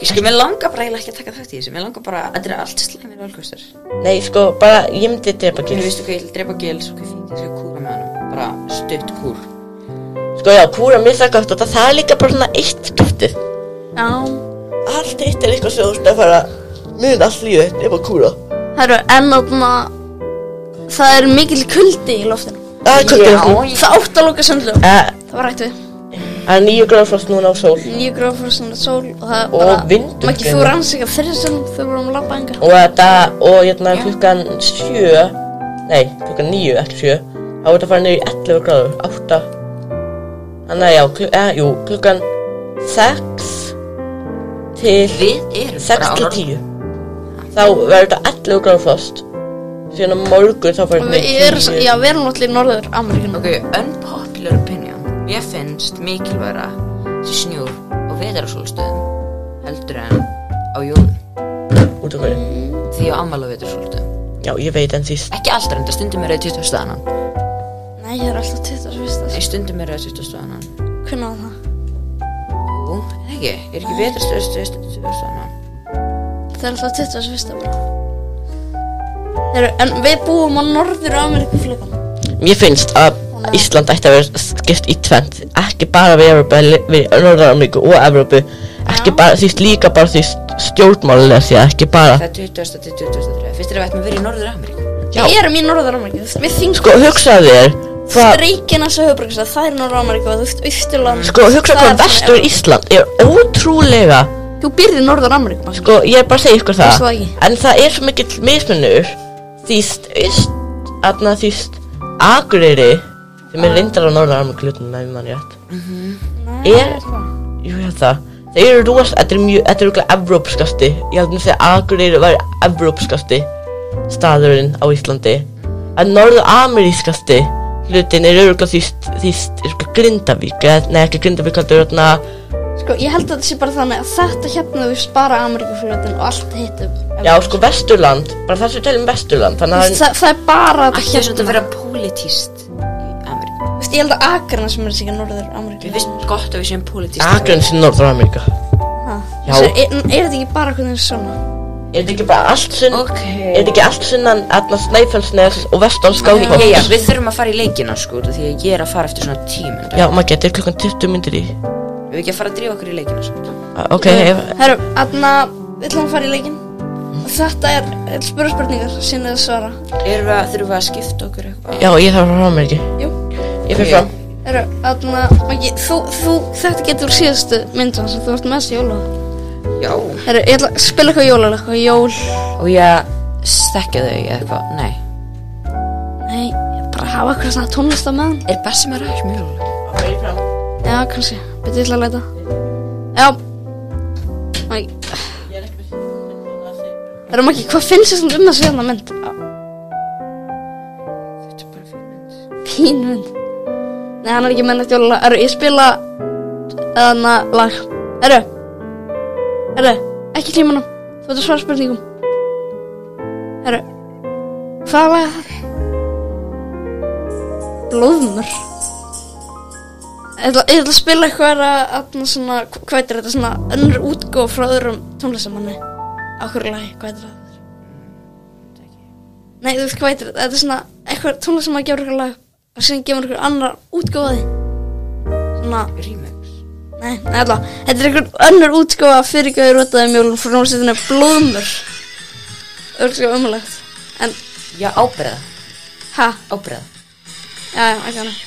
A: Sko, mér langar bara eiginlega ekki að taka þátt í þessu. Mér langar bara, þetta er allt slæmir valkostur.
C: Nei, sko, bara, ég myndi drepa
A: Ég
C: Gils
A: veistu hvað ég vil drepa Gils og hvað fínt ég skal kúra með hann. Bara stutt kúr.
C: Sko, já, kúra mér það gott og það, það er líka bara svona eitt skiptið
B: Já,
C: Allt eitt er eitthvað sem þú ert að fara Mun allt lífið þitt nema kúra
B: það eru ennáttúrulega, það er mikil kuldi í loftinu.
C: Það er kvöldið
A: Já, ég-
B: Það átt að loka sundlögum.
C: Eh,
B: Það var rætt við.
C: Það er nýju gráðfrost núna á sól
B: Nýju gráfrostin og sól og það er
C: Og
B: bara...
C: vindur
B: Maggi, þú
C: greinir.
B: ranns ekki að þeirra sem þau vorum að labba enga.
C: Og þetta, og hérna klukkan sjö Nei, klukkan níu, ekki sjö Það voru að fara niður í 11 gráður, 8 Þannig að já, klu, eh, jú, klukkan 6 Til
A: Við erum
C: 6
A: bara á
C: til
A: norð-
C: 10 Þá verður þetta 11 gráður frost Síðan á morgun þá
B: Og
C: verður
B: við erum, s- já, við erum náttúrulega í Norður Ameríkinu.
A: Ok, unpopular opinion. Mér finnst mikilværa sem snjúr á veðarsólstöðum heldur en á jólum.
C: Út af hverju
A: Því ég á ammala á veðarsólstöðum.
C: Já, ég veit en síst
A: Ekki alltaf, en það stundum er að 20 staðanan.
B: Nei, ég er alltaf 21.
A: Nei, stundum er að 20 staðanan.
B: Hvernig á það?
A: Jú, er ekki, er ekki veðarstöðstöð 20 staðanan.
B: Það er alltaf 21. bara. Heru, en við búum á Norður Ameríku flipan.
C: Mér finnst að Ísland ætti að vera skipt í tvent ekki bara við Evrópu, heldur við Norður-Ameríku og Evrópu ekki
B: Já.
C: bara því líka bara því stjórnmálulega því ekki bara
A: Það er 20. til 23. Fyrst er að við ættum að vera í Norður Ameríku.
C: Já.
B: Við erum í Norður Ameríku. Við þingum
C: sko hugsaðu þér hvað
B: streikina sem höfbruksað, það er Norður Ameríku og þú veist Ísturland.
C: sko hugsaðu hvað vestur Ísland er ótrúlega
B: Þú byrði Norður Ameríku. Sko.
C: sko ég er bara að segja ykkur
B: Veistu
C: það
B: það ekki?
C: en það er svo mikill mismunur því st aðna því st Akureyri sem er reyndar á Norður-Ameríku hlutum með mann rétt Er- Jú, ég held það. Þeir eru rosa, þetta er mjög, þetta er okkur evrópskasti. Ég held að segja Akureyri var evrópskasti staðurinn á Íslandi. En norðu-amerískasti hlutin er örgulega því, því, örgulega Grindavík, eða, nei ekki Grindavík, heldur hérna, þarna,
B: Sko, ég held að þetta sé bara þannig að þetta hérna þú spara Ameríku og allt hittum.
C: já sko Vesturland, bara það sem við tölum Vesturland, þannig að hann,
B: Það, það er bara þetta hérna.
A: Ætti þess að vera pólitíst í Ameríku.
B: Þú veist, ég held að Akranes sem er síka Norður Ameríku.
A: Við finnst gott að við séum pólitíst.
C: Akureyri sem Norður-Ameríka.
B: Ha.
C: Já.
B: Þessi- Er, er þetta ekki bara hvernig það er svona?
C: Er þetta ekki bara allt sunn,
A: Ok.
C: er þetta ekki allt sunnan, aðna Snæfellsnes og Vestan
A: Já, já,
C: Skálpáls?
A: við þurfum að fara í leikina sko, út af því að ég er að fara eftir svona tímund.
C: Já, maður getur klukkan 20 myndir í.
A: Við ekki að fara að drífa okkur í leikina sko? samt.
C: Ah, Ok, ef,
B: Herru, aðna, við ætlum að fara í leikinn. Og þetta er, er spurningar, síðan er að svara.
A: Erum við að, þurfum við að skipta okkur eitthvað?
C: já, ég þarf að fara á mér
B: Jú.
C: Ég fyrir
A: Ok.
C: fram.
B: Herru, aðna, Maggi, þú, þú, þetta getur síðustu myndan sem þú ert með þessi jóla.
A: Já.
B: Herru, ég ætla að spila eitthvað jóla, eitthvað jól.
A: Og ég stekja þau eða eitthvað, nei.
B: Nei, ég bara hafa eitthvað svona tónlist á meðan.
A: Er Bessi með ræðis mjög?
B: Já, kannski, betur ég ætla að leita. Já. Maggi, herru, Maggi, hvað finnst þér svona um þessu hérna mynd?
A: Þetta er bara fyrir mynd.
B: Pín mynd. Nei, hann er ekki með nætt jóla. Herru, ég spila, aðna, lag. Herru, herru, ekki tímanum. Þú ert að svara spurningum. Herru, hvað lag er það? Blóðmör. Ég ætla, ég ætla að spila eitthvað að, að svona, hvað er þetta, svona önnur útgóð frá öðrum tónlistamanni á hverju lagi, hvað er þetta? Nei, þú veist hvað er þetta, þetta er svona eitthvað tónlistamann gefur eitthvað lag og síðan gefur eitthvað annar útgóði svona,
A: Remix.
B: nei, nei, alltaf þetta er eitthvað önnur útgóð að fyrirgöður út af þeim jólum frá náttúrulega blóðmör örglega umlegt en,
A: Já, ábreða.
B: ha,
A: Ábreða.
B: já, já, ekki hana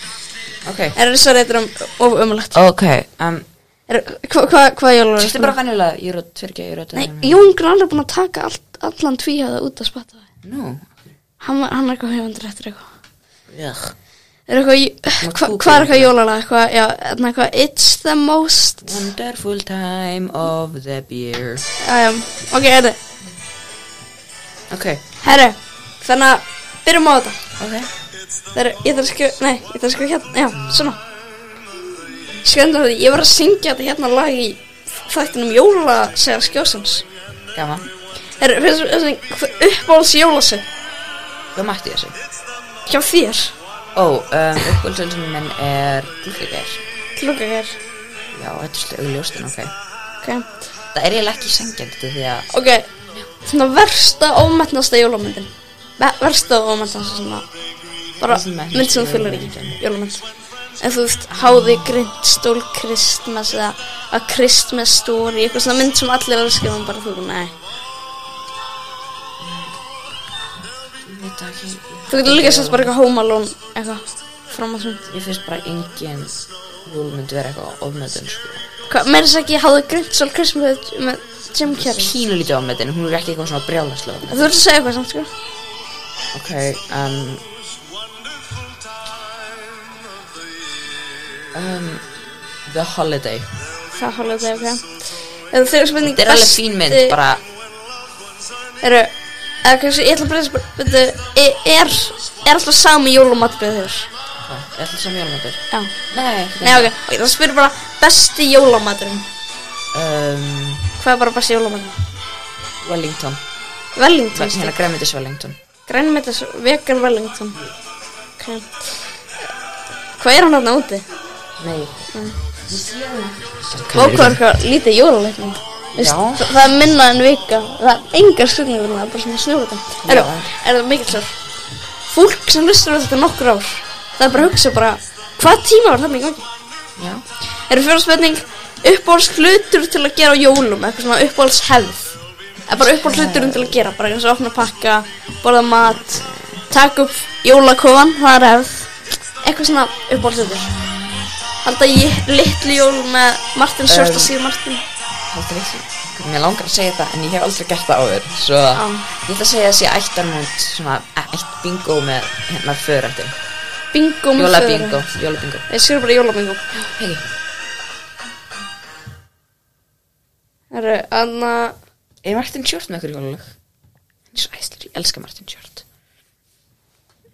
A: Ok.
B: er það svo reytur um, of umlegt
A: Ok, um,
B: hvað hva, hva jólum
A: þetta er bara venjulega, ég er að tvirkja, ég er að
B: Nei, Jón Grann er búinn að taka allt, allan tvíhæða út að spotta það.
A: Nú.
B: Hann, var- hann er eitthvað höfundur eftir eitthvað.
A: Ugh.
B: Er eitthvað,
A: Maður
B: hva,
A: kúkur.
B: hvað er eitthvað jólalag? Eitthvað, já, en eitthvað, it's the most.
A: Wonderful time of the year.
B: Um, ok, erðu,
A: Ok,
B: herru, þannig að byrjum á þetta.
A: ok.
B: Herru, ég þarf að skrifa, nei, ég þarf að skrifa hérna, já, svona. Sköndur því, ég var að syngja þetta hérna lag í þættinum jóla, segja skjósans.
A: Gaman.
B: Herru, finnst þessi uppáhalds jólasöng
A: Hvað mætti ég þessu?
B: hjá þér?
A: Ó, um, uppgöldsöldunum minn er gullíkær.
B: Klukka hér.
A: Já, þetta er slið augljóstinn, ok.
B: Ok,
A: Það er eiginlega ekki sengjandi því að
B: Ok, svona versta ómetnasta jólamyndin Ver- Versta ómetnasta svona Bara
A: Þessi metnasta
B: mynd sem þú fylgur ekki
A: jólamyndin.
B: Jólamynd En þú veist, háði grind, stól, kristmas Eða að kristmas stóri Eitthvað svona mynd sem allir elskar Og bara þú, nei
A: Ég veit það ekki
B: Þú getur líka sett bara eitthvað home alone Eitthvað fram að svona
A: Ég finnst bara engin jólmynd vera eitthvað ofmyndin sko.
B: Hvað, meira þess ekki háði grind, stól, kristmas Með Jim Carrey
A: Pínu lítið ofmyndin, hún er ekki eitthvað svona brjálaslega ofmyndin
B: Þú ert að segja eitthvað samt, sko
A: Ok, um, um The Holiday
B: Það hálfa þetta, ok Eða þegar spurning
A: Þetta er alveg
B: besti-
A: fín mynd, bara
B: Eru, eða kannski, ég ætla bara að spyrja, e, er, er alltaf sami jólamatbyrð þér?
A: Hvað, er alltaf sem jólmyndir?
B: Já.
A: Nei,
B: Nei, ok, ok, það spyrir bara besti jólamaturinn.
A: Um,
B: Hvað er bara besti jólamaturinn?
A: Wellington,
B: Wellington,
A: hérna
B: veist
A: græmitis Wellington
B: það? Grænmetis, vegan Wellington. Ok. Hvað er hann hann úti?
A: Nei
B: Vákvæður eitthvað lítið jólaleikning. Veist,
A: Já.
B: það það er minna en vika, það er engar skilningur, það er bara svona snjóðutan. Eru,
A: Já.
B: er það mikill svar? Fólk sem lustur á þetta nokkur ár, það er bara að hugsa bara, hvað tíma var það mikið gangi?
A: Já,
B: Er fjóra spurning uppáhalds hlutur til að gera á jólum eitthvað svona uppáhalds hefð eða bara uppáhalds hluturum til að gera bara eins og opna pakka, borða mat taka upp jólakofan það er hefð eitthvað svona uppáhalds hlutur Halda ég litlu jól með Martin Sjörsta
A: Um,
B: síðan Martin
A: haldur ekki Mér langar að segja það, en ég hef aldrei gert það áður Svo, ég ætla að segja þessi ættarmónd Svona, ætt bingo með hérna förættin
B: Bingo með föður.
A: Jólabingo, jólabingo
B: Ég skrifa bara jólabingo
A: Hei,
B: Það eru Anna
A: er Martin Short með ykkur jólalög? Hann er svo æstur, ég elska Martin Short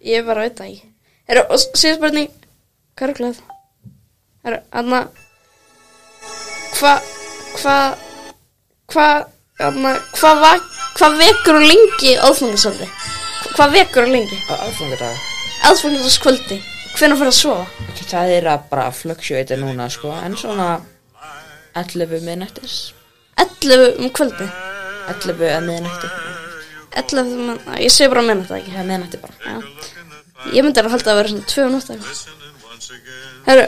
B: Ég bara veit það ekki Það eru og síðan spurning Hvað er glæð? Það eru Anna Hvað Hvað Hvað Anna Hvað va, hva vekur hún lengi aðfangasaldi? Hvað vekur hún lengi?
A: Á aðfangardag
B: Aðfangasalskvöldi Hvenær fyrir að sofa?
A: Ok, Það er að bara flöksjóita núna sko En svona 11 miðnættis
B: 11 um kvöldi
A: 11 eða miðnætti
B: 11 um að Ég segi bara að menna þetta ekki
A: Já, miðnætti bara
B: Já Ég myndi að halda að vera svona 2 um nótt eitthvað Herru,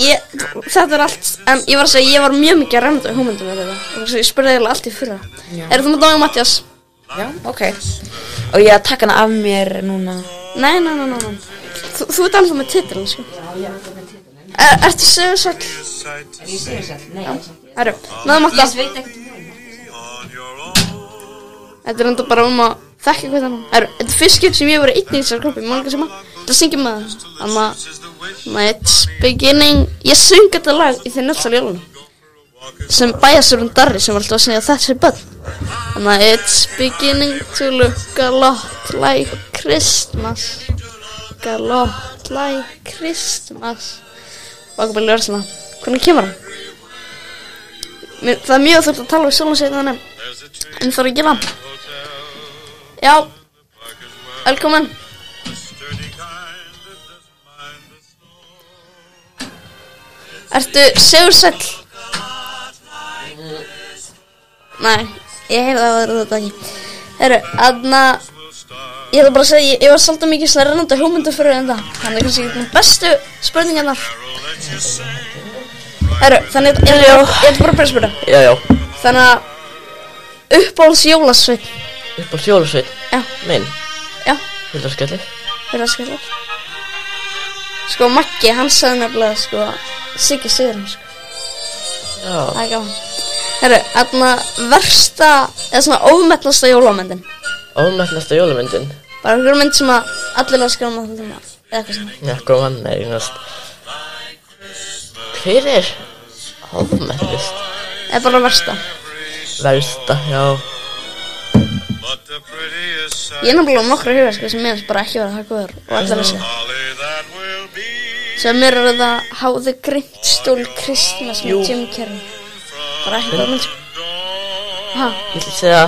B: ég, þetta er allt, en ég var að segja, ég var mjög mikið að remda hugmyndum með þetta. Þannig að ég spurði eiginlega allt í fyrra.
A: Já.
B: Er þú með Dói Mattias?
A: Já, ok Og ég að taka hana af mér núna
B: Nei, nei, nei, nei, nei. Þú, þú ert alveg með titilin, sko. Já, ég er alveg með titilin. Er, ertu sögursall?
A: Er ég segir sætt? Nei, ég
B: Herru, náðu Matta.
A: veit ekkert um hún
B: Þetta er enda bara um að þekka hvað þannig. Herru, þetta er fyrst skipt sem ég hef verið einn í þessar kloppi, málka sem að, það syngjum með það. Þannig að, my it's beginning, ég syng þetta lag í þeim nöldsal jólunum. sem bæjarstjórn Darri sem var alltaf að segja þessi börn Þannig að it's beginning to look a lot like Christmas Look a lot like Christmas Bakabæli Örsla Hvernig kemur hann? Mér, það er mjög þurft að tala við sjálfum sig þannig En það er ekki langt Já Velkomin Ertu segursæll? Nei, ég heyrði að það var þetta ekki Herru, aðna Ég ætla bara að segja, ég, ég var svolítið mikið svona rennandi hugmyndu fyrir en það Þannig kannski ekki með bestu spurningarnar Herru, þannig að ég, ég, ég ætla bara að byrja að spyrja
C: Já, já,
B: Þannig að uppáhalds jólasveinn
C: upp á sjólusveit
B: Já,
C: Minn,
B: já,
C: hildar skellir
B: fyrir að skilja Sko, Maggi, hann sagði nefnilega, sko, Siggi Sigurinn, sko Það
C: Já,
B: er gaman Herru, þarna versta eða svona ómetnasta jólamyndin
C: ómættnasta jólumyndin
B: Bara einhver mynd sem að allir að skjáma þetta tíma Eða eitthvað svona
C: Já, góð mann er einhverjast Hver er ómættist?
B: Eða bara versta
C: Versta, já
D: But the prettiest sight
B: Ég er nefnilega um nokkra huga sko sem mér finnst bara ekki verið að það góður og allir að segja
D: Holly that will be
B: Sem mér er það háðu grint stól Kristmas
C: Jú.
B: með Jim Carrey Bara ekki góð mynd sko Ha,
C: Ég ætla að segja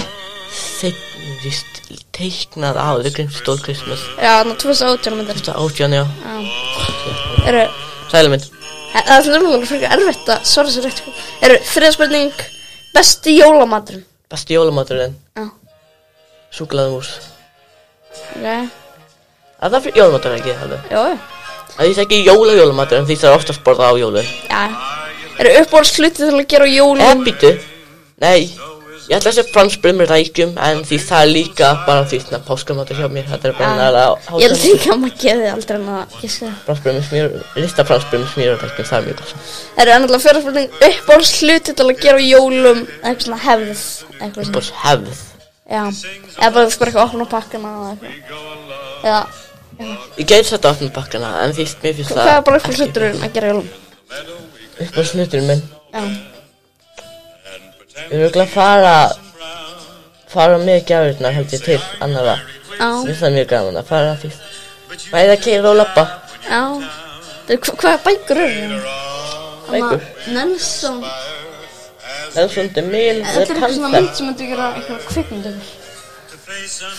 C: Seinnvist teiknað á The Grimms Stól Christmas
B: já, þarna 2018 myndir sko.
C: Þetta átján, já
B: Já e, Herru,
C: Sælumynd
B: Það er alveg alveg fyrir erfitt að svara sér rétt sko. Eru, þriða spurning Besti jólamaturinn
C: Besti jólumaturinn
B: Já,
C: Súklaðumús
B: ok Já,
C: Það er fyrir jólumaturinn ekki alveg
B: já,
C: Það er ekki jóla jólumaturinn því það er oftast borðað á jólun
B: já Eru uppáhalds hluti til að gera á
C: Eða
B: jólum
C: býtu Nei Ég ætla að segja franskbröð með rækjum en því það er líka bara því þannig að páskamatur hjá mér þetta er bara næra
B: Ah, Ég held ekki að maður geði aldrei en að ég sé það
C: Franskbröð með smjör Lista franskbröð með smjör og rækjum það er mjög gott
B: Það eru annarlega fjörðarspurning uppáhalds hluti til að gera á jólum eitthvað svona hefð eitthvað svona
C: Bors hefð
B: Já, eða bara þú spyrir eitthvað opna pakkana eða eitthvað Eða,
C: Ég gæti sett að opna bakkana en því mér finnst það
B: hvað er bara uppáhalds hluturinn að gera á jólum
C: Upp á snuturinn minn
B: Já,
C: Við erum örugglega að fara fara með gjafirnar held ég til annara Mér
B: já,
C: finnst það mjög gaman að fara að fyrst Bæði að keira og lappa
B: já Þeir, hva, Hvaða bækur eru það?
C: Bækur.
B: Nelson
C: Nelson DeMille,
B: Þetta
C: The
B: er eitthvað svona
C: Panther
B: mynd sem myndi gera eitthvað kvikmyndu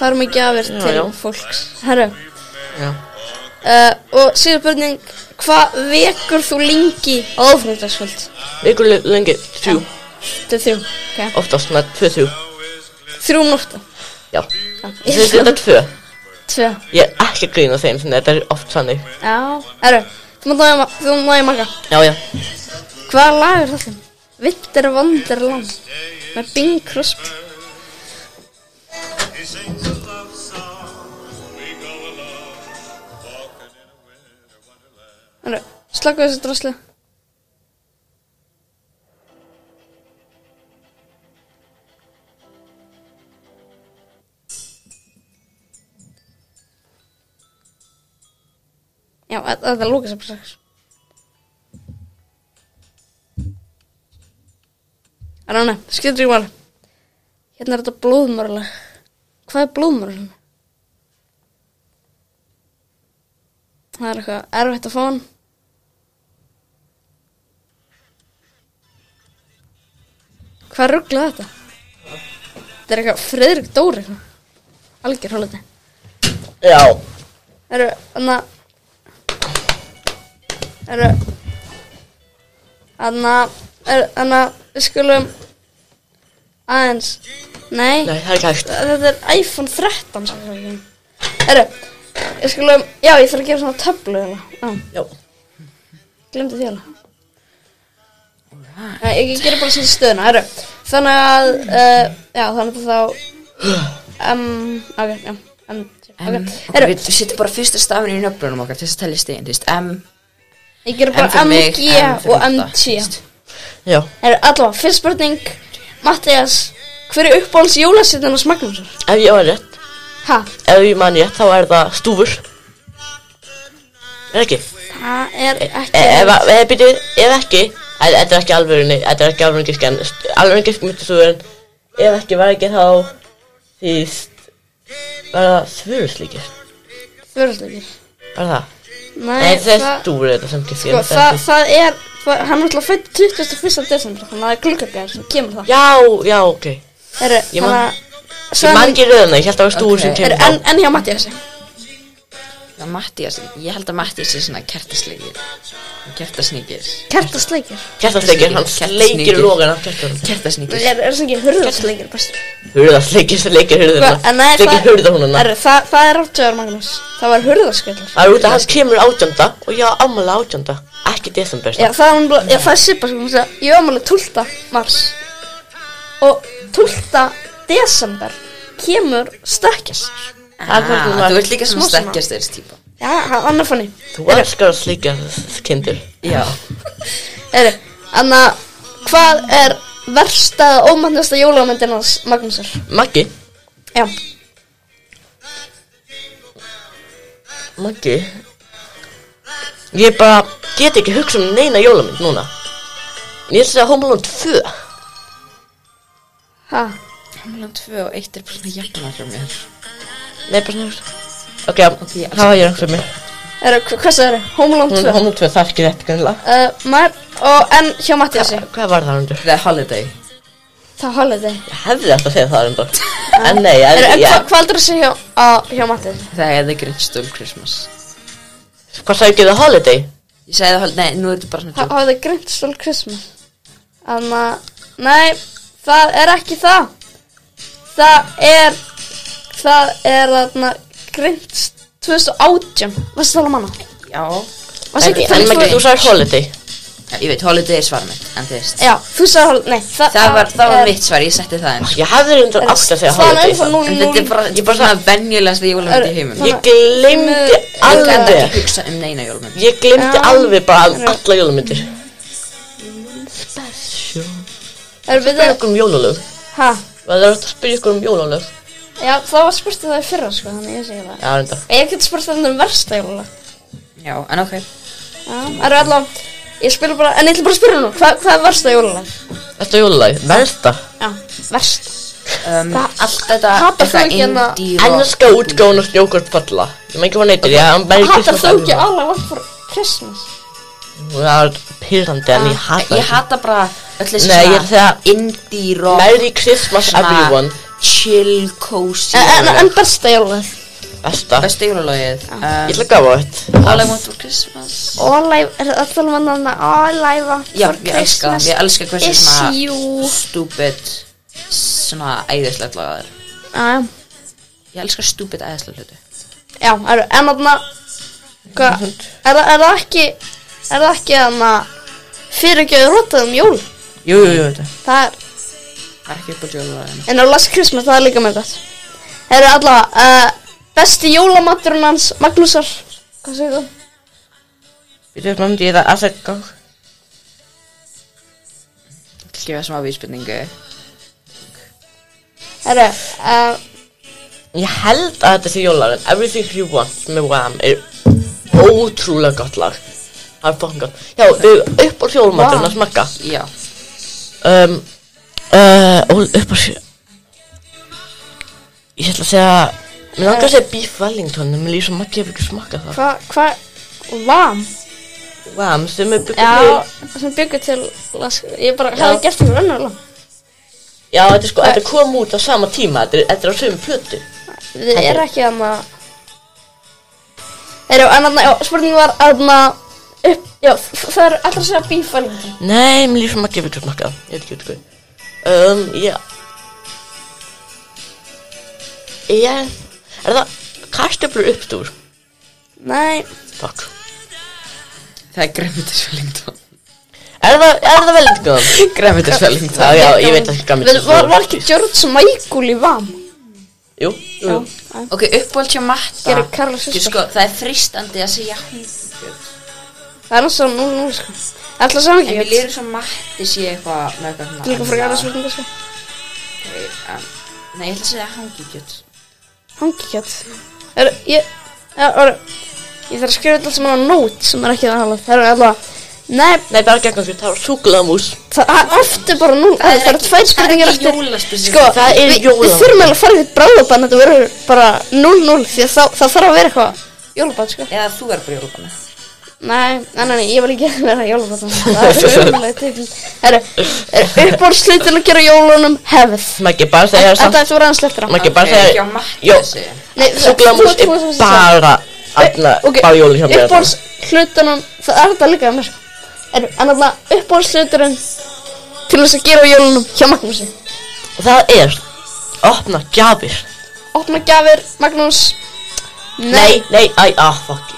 B: Farum ekki afir
C: Já,
B: til
C: já.
B: fólks Herru
C: Já.
B: uh, Og síðan spurning Hvað vekur þú lengi á aðfröndaskvöld?
C: Vikur le- lengi, þrjú,
B: Þetta er þrjú okay.
C: oftast svona tvö þrjú
B: Þrjú um nótta
C: Já,
B: Ég
C: þetta er
B: skal-
C: þetta tvö
B: Tvö
C: Ég er ekki að grína þeim, þannig að þetta er oft sannig
B: Já Herru Þú mátt næja- Þú mátt næja marga
C: Já, já,
B: Hvaða lag er þetta? Vinter Wonderland Með Bing Crosby
D: He sings a love song. We go along, walking in a winter wonderland.
B: Herru Slaka þessu drasli Já, þa- þetta er Lucas Abstrax Rána, skildur ég var Hérna er þetta blóðmörlega Hvað er blóðmörlega? Það er eitthvað erfitt að fá hann Hvað rugglaði þetta? Þetta er eitthvað Friðrik Dóri eitthvað. Algjör hálfandi
C: já
B: Eru, anna Eru Anna er, Anna, við skulum Aðeins Nei,
C: Nei, það er ekki hægt
B: þetta er iPhone 13 sagði ég. Eru, við skulum Já, ég þarf að gera svona töflu hérna. Já,
C: Já,
B: glemdi því alveg Nei, Ég, ég gerir bara svona stöðuna, eru Þannig að, uh, já, þannig að þá Um, ok, já Um,
A: M,
B: ok,
A: okay,
B: eru
A: við við setjum bara fyrsta stafinu í nöfnunum okkar til þess að telja stegin, þú veist, M,
B: Ég gerði
A: M
B: bara
A: fyrir mig,
B: MG
A: M fyrir
B: og
A: Odda, þú
B: MT
A: veist.
C: já
B: Það er allavega, fyrst spurning Mattias, hver er uppáhalds jólasýttan hos Magnúsar?
C: Ef ég var rétt,
B: Ha?
C: ef ég man rétt, þá er það stúfur Er ekki? Eh,
B: Það er ekki
C: Ef, ef, ef, byrju, ef ekki æ, Þetta er ekki alvörunni Þetta er ekki alvörunni gískan Alvörunni gískan myndi svo en Ef ekki var ekki þá Því st- Var það svöruslíkir
B: Fjörðsleikir
C: Var það
B: Nei,
C: Nei það er
B: það,
C: stúr þetta sem gískan
B: sko, það, það er það, Hann er alltaf fætt 21. desember Þannig að það er klukkabjær sem kemur það
C: Já, já, ok Ég
B: Eru,
C: Ég
B: þannig
C: man-
B: að
C: man
B: Svenni-
C: ekki röðuna Ég held að það var stúr
A: Ok.
C: sem
B: eru,
C: kemur þá
B: en, en hjá Mattiasi
A: Já, Mattias, ég held að Mattias sé svona kertasleikir, kertasneikir,
B: Kertasleikir
C: Kertasleikir, hann
A: Kertasleikir.
C: sleikir logan af kertasleikir
A: kertasneikir.
B: Er, er það ekki hurðarsleikir bestur?
C: Hurða, sleikir, sleikir hurðuna
B: Sko, En nei,
C: Sleikir hurða hún
B: eru, það, það er áttuðar Magnús Það var hurðarskveilar
A: Ah.
C: Það er út að hann kemur átjönda Og ég á ammala átjönda Ekki desember
B: Já, það er hún bara, já, það er Sippa sko, hún sagði, ég var máli 12. mars og 12. desember kemur stökkjast.
C: Það er hvernig
A: Ah,
C: maður-
A: þú ert líka svona
B: Smá svona.
A: stekkjasteyrs típa.
B: Já, hann hann er fannig.
C: Þú elskar að sleika kindur
A: Já,
B: Eru, anna, hvað er versta og ómannasta jólamyndin hans Magnúsar?
C: Maggi
B: Já,
C: Maggi Ég bara get ekki hugsa um neina jólamynd núna Ég ætla að Home Alone 2
B: ha,
A: Hamlan 2 og 1 er bara svona jafnar hjá mér.
C: Nei, bara svona Ok, okay það var ég rangt fyrir mig
B: eru, hva- hvað sagði eru? Home Alone
C: Home
B: 2.
C: Alone 2, það er ekki rétt grunnilega
B: Uh, maður, og en hjá Mattiasi,
C: Hvað var það hundur?
A: The Holiday.
B: það hálfið þig.
C: Ég hefði alltaf að segja það hundur En nei, en,
B: Eru, en hva,
C: ég,
B: hvað heldur þessi hjá, á- hjá Mattiasi?
A: Það er The Grinch Stole Christmas.
C: hvað sagði ekki það Holiday?
A: Ég segi það, hol- nei, nú er þetta bara svona
B: Það hafði grint stól Christmas Þannig að, nei, Það er ekki það Það er Það er þarna Grint 2018 Varstu það að manna?
A: Já
B: Varstu
A: En-
B: ekki um
A: en
B: Felix
A: maður
B: Flóri?
C: Þú
A: getur-
C: sagði holiday
A: Ég veit, holiday er svar mitt, en þú veist
B: Já, þú sagði hálf Nei, það,
A: Það var, það var
B: er-
A: mitt svar, ég setti það inn
C: Ég hafði reyndar
B: er-
C: átt að
B: Það er
C: segja holiday
B: ennþá núll,
A: En
B: núll.
A: þetta er bara, þetta er bara svona venjulegast jólamynd í heimum
C: Ég gleymdi
B: Ég
A: Ég kann
C: alveg
A: ekki hugsa um neina jólamynd
C: Ég gleymdi
B: Já.
C: alveg bara um alla jólamyndir
B: Er við
C: Spyrja okkur um jólalög
B: Hæ?
C: Það er að spyrja ykkur um jólalög
B: Já, það var spurt það í fyrra sko Þannig ég segi það
C: Já, reyndar
B: Ég hef getið spurt það um versta jólulega
A: Já, en ok
B: Já, er við allavega Ég spila bara En ég ætla bara að spyrja nú Hvað, hvað er versta jólulega?
C: Þetta er jólalag Versta
B: Já, versta
A: um, Allt þetta
B: Hatar þú
A: eitthvað
B: ekki hérna-
A: indie rock-
C: Ennska útgáðun og snjókortpalla Ég maður ekki hvað neytir Ég hann bæði
B: Hattar þú ekki alveg One for Christmas?
C: Það er pyrrandi en
B: Ah,
C: ég hata
A: Ég hata bara öll þessi
C: Nei, ég er
A: svona
C: þegar-
A: indie rock
C: Merry Christmas everyone
A: chill, cozy
B: En, en,
A: jólalög.
B: en besta jólulega
C: Besta
A: Besta jólalagið
C: Ég
A: um,
C: ætla að gafa þetta
A: All I Want For Christmas
B: All I, er það alveg mann hann All I want
A: Já,
B: for
A: ég elska
B: Christmas
A: það, ég elska hversu
B: is
A: svona
B: you
A: stupid svona æðislegt lagað er
B: Já,
A: Ég elska stupid æðislegt hluti
B: já, er, en þarna Hvað, er, það- er það ekki Er það ekki þarna Fyrirgjöðu rótað um jól
C: Jú, jú, jú, þetta
B: Það er,
A: Það er ekki upp á jólalaginu
B: en á Last Christmas Það er líka mjög gott Það eru allavega uh, Besti jólamatturinn hans Magnúsar Hvað segir þú?
C: Við þurfum að myndi ég það að segja
A: Ég gefa smá vísbyrningu
B: Herru, uh,
C: Ég held að þetta sé jólalagin Everything You Want með Wham er ótrúlega gott lag Það er fokkin gott Já, við upp á
B: Wham.
C: sjólumaturinn að smakka
A: Já,
C: um, uh, og upp á sjö ég ætla að segja mér langar að segja beef wellington en mér líf svo maggi ef ekki smakka það
B: hvað, hvað Vam?
C: Vam sem er byggur
B: Já, sem byggur til Last Ég bara hefði gert það fyrir önnulega
C: já þetta er sko þetta kom út á sama tíma þetta er, þetta er á sömu plötu
B: Þið
C: Þetta er-
B: eru ekki þarna Eru, en þarna, já, spurning var þarna upp, já, f- það eru allra að segja bífælingar
C: nei mér líf svo maggi ef ekki smakka það ég veit ekki hvað um já ég er það kartöflur uppstúr
B: Nei,
C: takk
A: það er Gremmitis Wellington
C: er það er það wellington
A: Gremmitis Wellington
C: já já ég veit ekki hvað mér
B: við, var, var ekki George Michael í VAM?
C: jú jú
B: Já,
A: Ok, uppáld hjá matta
B: Gerir Karla systur.
A: Þú sko, Það er fristandi að segja hún
B: það er náttúrulega nú, nú, sko Allra að segja
A: En
B: ekki
A: mér
B: gett.
A: líður svo matti sé eitthvað með eitthvað svona
B: Líka fyrir aðra spurningar, sko
A: annað. Nei, ég ætla að segja hangikjöt
B: Hangi kjött Eru, ég, já, eru Ég þarf að skrifa þetta allt saman á nót sem er ekki það halvað Það eru alltaf, nei,
C: nei bara gegn okkur það var súkulamús
B: það er aftur bara nú Það
A: er
B: eru
A: ekki-
B: tvær
A: það
B: spurningar
A: er ekki
B: eftir
A: jólaspecific.
B: Sko,
C: Það er
B: við-
C: jólamat.
B: Við þurfum alveg að fara í þetta bráðabann Þetta verður bara 0-0 Því að það, það þarf að vera eitthvað Jólabann, sko
A: Eða þú er bara jólabanna
B: Nei, nei, nei, nei, ég vil ekki vera jólabann Það er umlega til Það eru uppbórslitin að gera jólunum hefð
C: Maggi bara segja það
B: Þetta
C: samt
B: ætti að vera aðeins letra
C: Maggi bara
A: Ok,
C: segja
A: hjá Matti
C: Jó,
A: þessi.
B: Nei,
C: Súkulamús
B: þú- þú-
C: er
B: þú- þú-
C: bara Alla, bara jóli hjá mér
B: uppbórs hlutunum Eh, það er þetta líka hjá mér er, en alltaf uppbórs hluturinn til þess að gera á jólunum hjá Magnúsi
C: Það er Opna gjafir
B: opna gjafir, Magnús
C: Nei, nei, æ, ah, fuck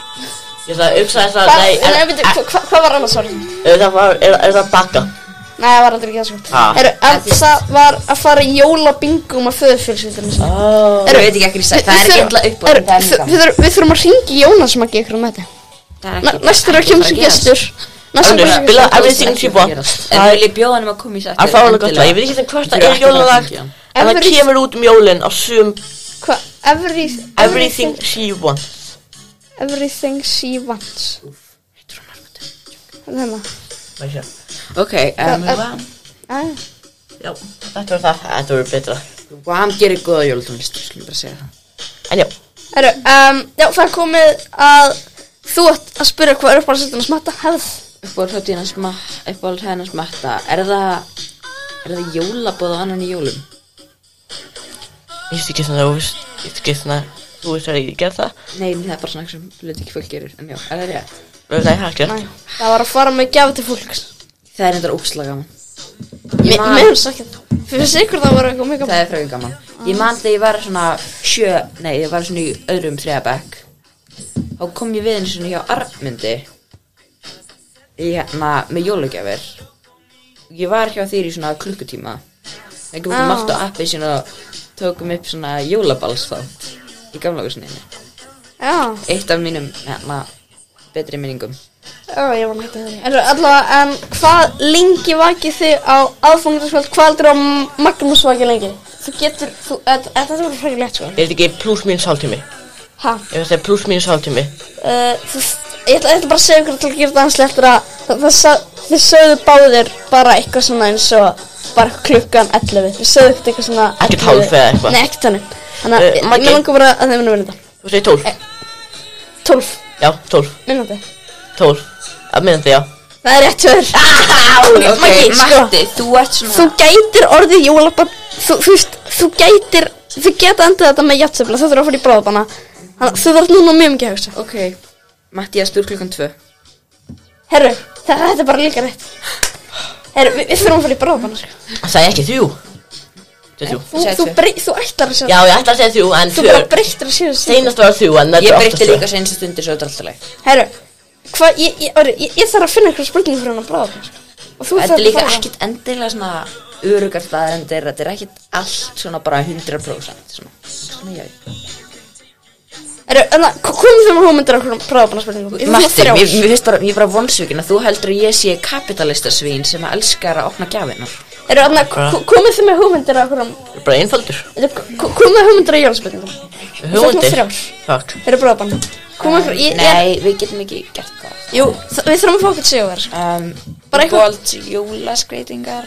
C: Ég ætla að hugsa þess að
B: Hva,
C: Nei,
B: nei,
C: er,
B: veitu, hva, hva, hvað var annars orðið?
C: er, það var, er, er það baka
B: Nei, það var aldrei ekki það sko
C: Ha.
B: Heru, En það var að fara í jólabingum að föðufjölskyldunum sinni
C: oh.
A: Ég veit ekki ekki sagt, það er ekki illa upp á
B: Heru, við, þurfum- við þurfum að ringi Jónas Maggi ykkur um þetta Næ- Næstur er að kemur sem gestur Næstur
C: Önnur,
B: er að
C: spila-
B: kemur
C: Everything you want.
A: En vil ég bjóða hann um að koma í sættu
C: Það er fálega gott lag Ég veit ekki sem hvort það er jólalag En það
B: Everything-
C: kemur út um jólin á sum
B: Hvað, every,
C: Everything she wants
B: Everything she wants Hérna. Þannig að
C: Má ég sjá?
A: Ok, um, Wham-
B: Æ,
C: Já, Þetta var það Þetta var betra
A: Wham gerir góða jólatónlist Ég skal bara segja það
C: En já
B: Heru, um, já, það er komið að þú ætt að spyrja hvað er uppáhaldsöldin að smatta hefð.
A: Uppáld hlutin hans matta Uppáld hennas matta Er það Er það jólabóð á annan í jólum?
C: Ég veist ekki sem það óvist Ég veist ekki sem það Þú veist að ég gerð það
A: Nei, það er bara svona sem hlut ekki fólk gerir En já, er það rétt?
C: Nei, það er ekki
B: Nei,
C: rétt.
B: það var að fara með gjafi til fólks.
A: Það er endur óksla gaman
B: Mér
A: man-
B: finnst ekki það. Fyrir sikur það voru eitthvað mega
A: Það er frekar gaman Ég man þegar ég var svona sjö Nei, ég var svona í öðrum þriðabæk Þá kom ég við einu svona hjá Armundi Í hérna, með jólugjafir Ég var hjá þér í svona klukkutíma Það kom
B: Á.
A: þú mátt á appi sín og tókum upp svona jólabalsþátt Í gamla húsinni
B: Já,
A: Eitt af mínum, hérna, betri minningum
B: já, ég var nættið það En allavega, en hvað lengi vakið þið á aðfangtaskvöld Hvað heldur á Magnús vakið lengi? Þú getur, þú, þetta þetta voru frækir létt sko
C: Er þetta ekki pluss mínus hálftími? Ef
B: Ha,
C: þetta er pluss mínus hálftími
B: uh, þú, ég ætla, ég ætla bara að segja ykkur til að gera það anslega eftir að það, það, sa- Þið sögðu báðir bara eitthvað svona eins og bara klukkan 11 Þið sögðu ekkert eitthvað svona 11.
C: Ekkert hálf eða eitthvað.
B: Nei, ekkert þannig Þannig að
C: Eh,
B: uh,
C: Maggi.
B: mér langar bara að þið munum vinna þetta
C: Þú segir 12?
B: Eh. 12
C: Já, 12
B: minúti
C: 12 Að minna þetta, já
B: Það er rétt hjá
C: Ah,
B: þér
A: Ok,
B: Maggi, sko
A: Matti, þú ert
B: þú
A: svona
B: gætir orðið jólabann þú, þú veist, þú gætir þú geta endað þetta með jætsefla þú þurfa að fara í bráðbanna þannig að þú þarf núna mjög mikið að hugsa
A: Ok, Matti, ég stúr klukkan tvö
B: herru, þetta, þetta er bara líka rétt herru, við, við þurfum að fara í bráðbanna sko.
C: Það sagði ekki þrjú Þetta er þrjú
B: þú,
A: Segðu
B: þú,
A: tvö.
B: brey, þú ætlar að segja
C: Já, ég ætla að segja þrjú, en
B: þú bara
C: þrjú
B: breytir að segja þessu
C: Seinast var þrjú, en
A: Ég
C: þetta er
A: breytti
C: oftast
A: líka
C: þrjú
A: senstu stundir svo þetta er alltaf leið
B: herru, hvað, ég, ég, orri, ég, ég þarf að finna eitthvað spurningu fyrir hann að bráðbanna sko. og
A: Þetta
B: þú þarf
A: er
B: að
A: líka
B: fara ekki...
A: ekkit endilega svona örugar staðarendir, þetta er ekkit allt svona bara 100% svona, svona ég veit.
B: herru, hérna, en það, komum þau með hugmyndir af bráðbanna spurningum Ég- þú
A: Matti,
B: þrjár.
A: mér mér finnst bara, ég er bara vonsvíkin að þú heldur að ég sé kapitalistasvín sem að elskar að opna gjafinnar.
B: herru, hérna, en það, komum þau með hugmyndir af
C: Bara einfaldur
B: komum þau hugmyndir af jólaspurningum
C: Hugmyndir
B: þrjár.
C: Fuck
B: Fyrir bróðabann Komum ykkur ég, ég,
A: Nei, við getum ekki gert það.
B: Jú, þa- við þurfum að fá okkur sigur
A: Um,
B: Bara
A: bara
B: eitthvað-
A: eitthvað. Bólt, jólaskreitingar,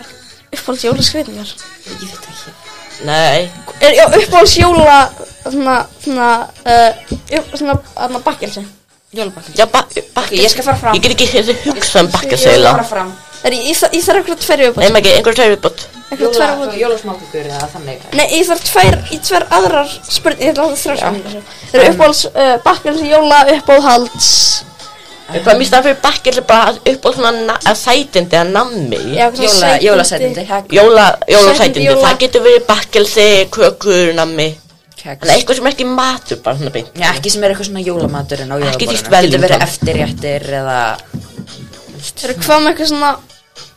B: Uppáhalds jólaskreitingar
A: ég veit ekki.
C: Nei
B: er, Já, uppáhalds jóla Svona, svona uh, upp, Svona, þarna bakkelsi
A: Jólabakki.
C: Já, bakkelsi
A: Ég skal fara fram.
C: Ég get ekki hér hugsa um bakkelsi
A: Ég
C: eða
A: fara fram.
B: Er, ég, ég, þa- ég þarf eitthvað tverju upp
C: Nei, maður ekki, einhverjum tveir viðbót
B: Eitthvað
A: Jóla,
B: tverju upp
A: jólasmákugur eða þannig.
B: Nei, ég þarf tver, ég tver aðrar spurning Ég ætla að þrjá spurningar Það eru uppáhalds uh, bakkelsi, jóla, uppáhalds
C: Hvað mér staðan fyrir bakkelsi bara að upp á svona na- að sætindi að nammi
B: Já, svona
A: Jóla,
B: sætindi.
A: jólasætindi, hegg,
C: Jóla, jóla
B: Sætindi,
C: sætindi
B: jóla.
C: Það getur verið bakkelsi, kökur, nammi
A: keks.
C: Þannig eitthvað sem er ekki matur bara svona beint
A: Já, ekki sem er eitthvað svona jólamaturinn á
C: Ekki
A: jólaborðinu.
C: dýrt
A: Getur verið
C: Wellington.
A: eftirréttir eða
B: Það eru hvað með eitthvað svona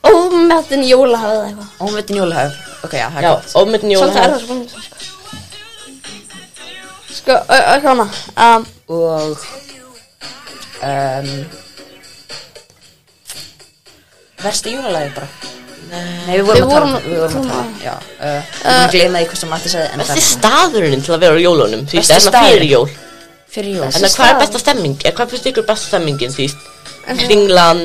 B: Ómetin jóla hafið eitthvað
A: ómetin jólahöf. um Ok, já, það er
C: Já,
A: gott.
C: ómyndin jóla
B: Svolítið erðar spurningar sko. Sko, eitthvað hana um,
A: og um, versta jólalagi bara Nei, við vorum,
B: Við
A: að tala um-
B: vorum-
A: við vorum að tala um- já, uh, ég gleymaði hvað sem Matti sagði en
C: Besti
A: það
C: staðurinn til að vera á jólunum Því
A: Besti
C: það er maður fyrir
A: staðurinn.
C: jól
A: fyrir jól
C: En
B: Besti
C: hvað er
B: staðurinn.
C: besta stemming? Eh, Hvað finnst ykkur besta stemmingin því? Kringlan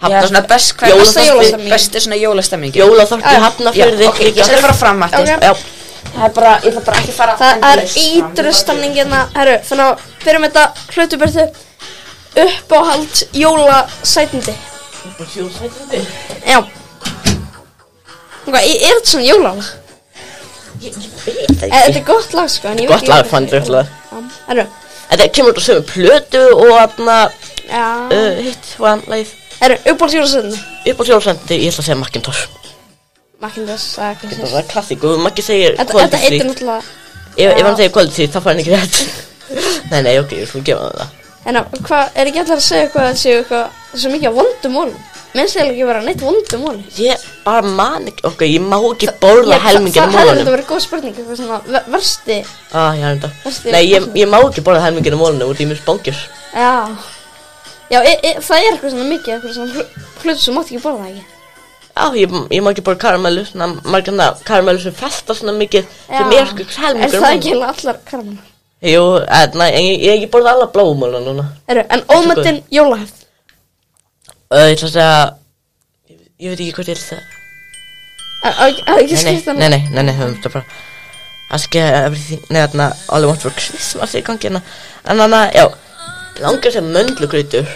A: Já, svona best, hvað er besta
C: Jólaþorpið-
A: jólastemmingi? Besti svona jólastemmingi
C: Jólaþorpi
B: Já.
A: Já,
C: hafnafyrði
A: ok, ég skal fara fram, Matti
B: Ok.
C: Já,
A: Það er bara, ég ætla bara ekki að fara
B: Það er
A: endalaust fram.
B: ítrú stamning hérna, herru, þannig að byrjum þetta hlutubörðu uppáhald jólasætindi. Já. Hvað, ég er þetta svona jólalag? Eh, Þetta er gott lag, sko, en ég
C: Gott lag, fann þetta lag
B: Herru,
C: Þetta kemur út á sömu plötu og aðna
B: já.
C: uh, Hitt, hvaðan lagið
B: Herru, uppáhalds jólasætindi.
C: Upp á sjálfsendi, ég ætla að segja Macintosh
B: Makindas, það er
C: Þetta
B: kannski.
C: var klassík og Maggi segir
B: Þetta þetta
C: quality
B: heitir
C: sleep.
B: náttúrulega,
C: Ef ef hann segir quality þá fær hann ekki rétt Nei, nei, ok, ég skal gefa hann það
B: hérna, hvað, er ekki allar að segja eitthvað að séu eitthvað, svo mikið að vondum ólum? Minnst þeir ekki vera neitt vondum ólum?
C: Ég bara man ekki, ok, ég má ekki borða
B: Ég-
C: helmingin af
B: Það hefði þetta
C: mólunum
B: verið góð spurning, eitthvað svona, ver- versti,
C: Ah, ég hann
B: Varstu-
C: þetta Nei, ég, ég má ekki borða helmingin af mólunum út í mér spangir
B: Já, já e, e, það er eitthvað svona mikið, eitthvað svona hlu- hlut sem mátt ekki borða það ekki.
C: Já, ég, ég má ekki borða karamellu, svona margarna karamellu sem festa svona mikið sem
B: Já.
C: er sko
B: Er
C: helmingur
B: það ekki alveg allar karmann?
C: Jú, en, nei, en ég, ég hef ekki borða alla blómulna núna
B: Eru, en ómöndin jólahefð.
C: uh, Ég ætla að segja, ég, ég veit ekki hvað ég ætla að segja
B: En á ekki- á ekki
C: Nei,
B: skipt hann.
C: nei, nei, nei, nei, nei, höfum þetta bara að skilja everything, nei, þarna all I want for Christmas í gangi hérna en þarna, já, langar sem möndlugrautur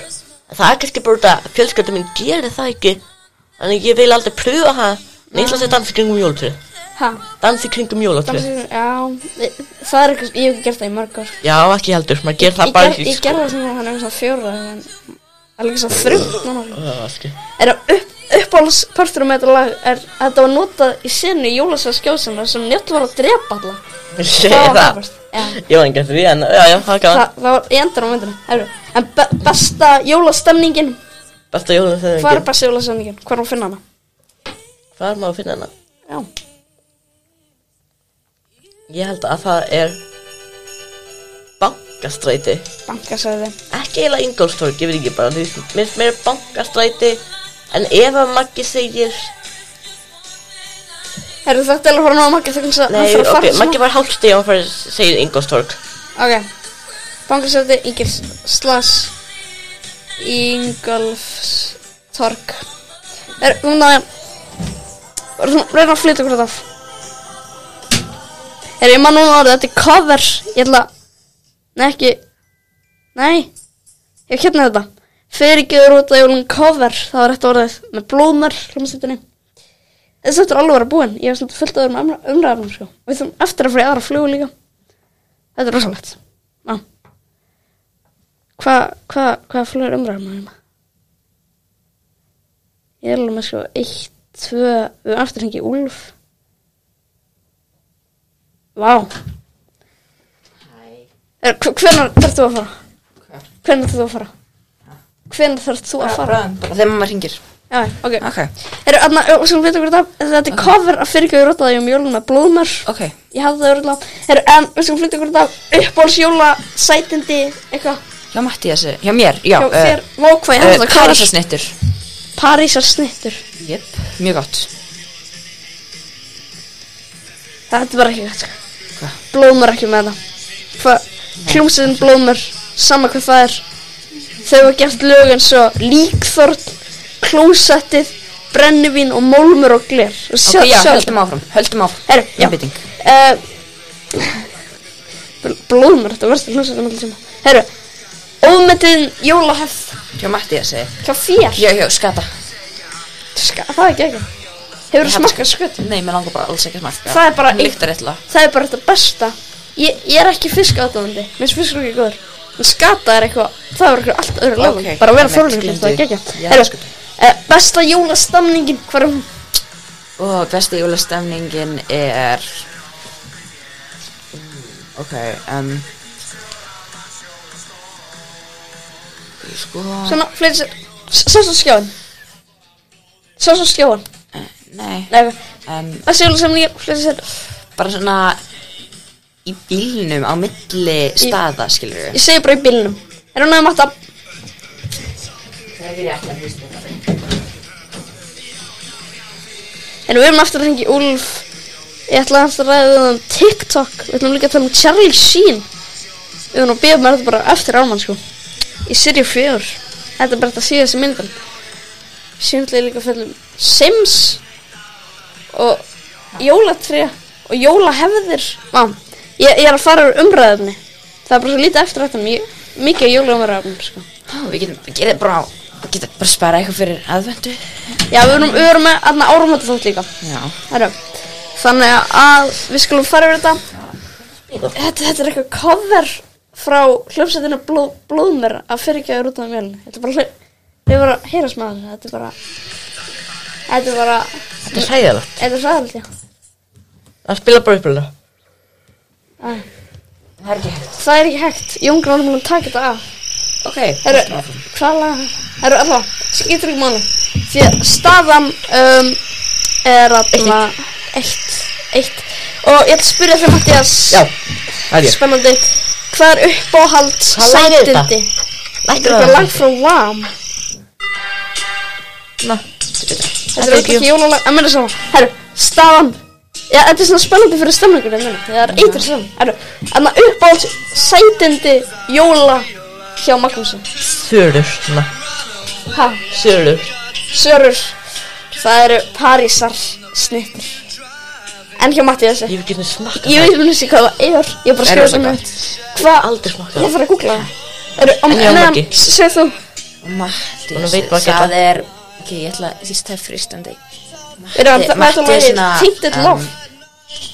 C: það er kannski bara út að fjölskylda mín gerir það ekki þannig ég vil aldrei pröfa það en ég ætla að segja dansi kringum jólatrið
B: Ha,
C: dansi kringum jólatrið
B: dansið, já, e, það er eitthvað, ég hef ekki gert það í mörg ár.
C: já, ekki heldur, maður gerir það
B: Ég, ger,
C: bara
B: ég gerði það svona, hann er svona fjóra, en það er líka svona þrjum.
C: ekki
B: Eru, upp, uppáhaldspartur um þetta lag er að þetta var notað í sinni jólasvæðskjóðsina sem njöll var að drepa alla
C: Ég
B: Það var
C: það
B: frábært. Já.
C: Ég var engjönd því en Já, já,
B: Þa,
C: það er gaman
B: það var í endan á myndinu Hefru. En be besta jólastemningin
C: Besta jólum sem
B: Hvað er besta jólastemningin? Hvað er að finna hana?
C: Hvað er maður að finna hana?
B: Já,
C: Ég held að það er Bankastræti
B: bankasæði
C: Ekki eiginlega Ingolstorg, ég veit ekki bara Mér finnst meira bankastræti En ef að Maggi segir
B: Herru þetta er alveg horfum á Maggi þegar hann
C: Nei,
B: fyrir að
C: ok,
B: fara
C: Maggi var hálft stíð og hann fyrir- segir Ingolstorg
B: Ok, bankasæði Ingils Slash Ingolfs Torg Er, núna Reyna að flytta hvort af Er, ég man núna orðið, þetta er cover Ég ætla Nei, ekki Nei, ég hérna þetta Fyrirgeður út að jólun cover Það var þetta orðið með blómar hljómsveitinni Þessi þetta er alveg að vera búin Ég var svolítið fullt að vera með umræðanum sko. Og við þurfum eftir að fyrir aðra flugu líka Þetta er rosalegt Já Hvað hva, hva flugur umræðanum hérna? Ég er alveg með sko Eitt, tvö Við erum eftir hengi Úlf Vá Hvernig þarf þú að fara?
A: Hvað?
B: Hvernig þarf þú að fara? Hvernig þarf þú að fara?
A: Bara þegar maður hringir
B: Já, ok.
A: Ok,
B: Eru, aðna, og svo veitum við þetta, þetta er cover af fyrirgjöðu rotaði um jólum með blóðmör.
A: ok
B: Ég hafði það örgulega. Eru, en, við skulum flytta ykkur þetta uppbólsjóla, sætindi, eitthvað.
A: Hjá Mattiasi, hjá mér, já
B: Hjá
A: eh,
B: þér, vókvað, ég
A: eh,
B: hafði það
A: Karasasnittur
B: Parísar snittur.
A: Jep, mjög gott
B: Þetta var ekki gætt.
A: Hva?
B: Blóðmör ekki með það. Hvað, hljómsveitin blóðmör, sama hvað það er. Þau hafa gert lög eins og líkþorn, klósettið, brennivín og mólmur og gler.
A: Ok, já, höldum áfram, höldum áfram
B: Herru, já.
A: Einbeiting.
B: Eh, bl- Blóðmör, þetta verður hljómsveitin allir sem Herru, ómetin jólahef
A: Hjá Mattiasi
B: Hjá þér
A: Já, já, skata
B: Ska, Það er ekki ekki Hefur þú smakkað skutt?
A: Nei, mér langar bara alls ekki að smakka
B: Það er bara
A: Hún
B: ein-
A: lyktar illa
B: Það er bara þetta besta Ég, ég er ekki fisk átöfandi Mér finnst fiskur ekki góður En skata er eitthvað Það er eitthvað allt öðru lögum
A: Ok,
B: Bara að vera
A: einmitt,
B: fjólugur Það er ekki
A: Já,
B: ekki Herru,
A: skutt.
B: eh, besta jólastamningin Hvað er hún?
A: Og besti jólastemningin er Mm, Ok, um Sko
B: Svona, fleiri sér Sá svo skjáin Sá svo skjáin
A: eh, Nei
B: Nei, ok.
A: um,
B: besta jólastamningin Fleiri sér
A: Bara svona Í bílnum á milli staða, skilur við
B: Ég segi bara í bílnum Er hún að matta En við erum aftur að hringja í Úlf Ég ætla aftur að ræða um TikTok Við ætlum líka að tala um Charlie Sheen Við erum að beða mér þetta bara eftir ámann sko Í Sirju 4 Þetta er bara þetta síðast myndan Sýndlega líka að fjalla um Sims Og Jólatré Og jólahefðir Má, ég, ég er að fara úr umræðumni Það er bara svo lítið eftir þetta Mjög mikið jólaumræðum sko
A: Ó, Við getum, við getum bara Við getum bara spara eitthvað fyrir aðvendu
B: Já, við erum, við erum með aðna árumönda þátt líka
A: Já
B: Herru, þannig að við skulum fara yfir þetta Þetta, þetta er eitthvað cover frá hljómsveitinu blóð, Blóðmer að fyrirgjáður út af mjölinu Þetta er bara hljó- Við vorum að heyrast með þessu, þetta er bara Þetta er bara,
C: Þetta er hægilegt
B: þetta er sæðalegt, já
C: Það spila bara hérna. upplega
B: Æ,
A: Það er ekki hægt
B: Það er ekki hægt, Jón Gráðum mun taka þetta af
A: Ok, höldum
B: Herru,
A: áfram.
B: hvað lag Herru, allavega, skiptir ekki máli Því að staðan um, er að Eitt, eitt Og ég ætla að spyrja þér Mattias
C: Já, það er ég
B: Spennandi Hvað er uppáhalds
C: Hvað lag er þetta?
B: sætindi?
C: Lækka
B: Þetta er
C: það
B: lag frá Wham
C: Næ,
B: Þetta er auðvitað ekki jólalag En mér er saman Herru, staðan Já, þetta er svona spennandi fyrir stemningur Það er eitri saman Herru, þannig að uppáhalds sætindi Jóla hjá Magnúsin
C: Sörur, næ,
B: Ha,
C: sörur
B: sörur Það eru parísar snittir En hjá Mattiasi
C: Ég hef ekki smakka
B: Ég veit mér sé hvað það er Ég er
A: Er
B: bara að skrifa
A: rosa
B: það
A: gott.
B: með Hvað?
C: Aldrei smakka
B: Ég þarf að googla það Eru, á
C: En ég á
B: meðan,
C: Maggi.
B: segð þú
A: Mattias,
C: Hún veit maður ekki
A: það
C: alla.
A: er ok, ég ætla að líst það er fristandi
B: Eru, það- það er það lagið Tainted
C: um,
B: Love
A: Er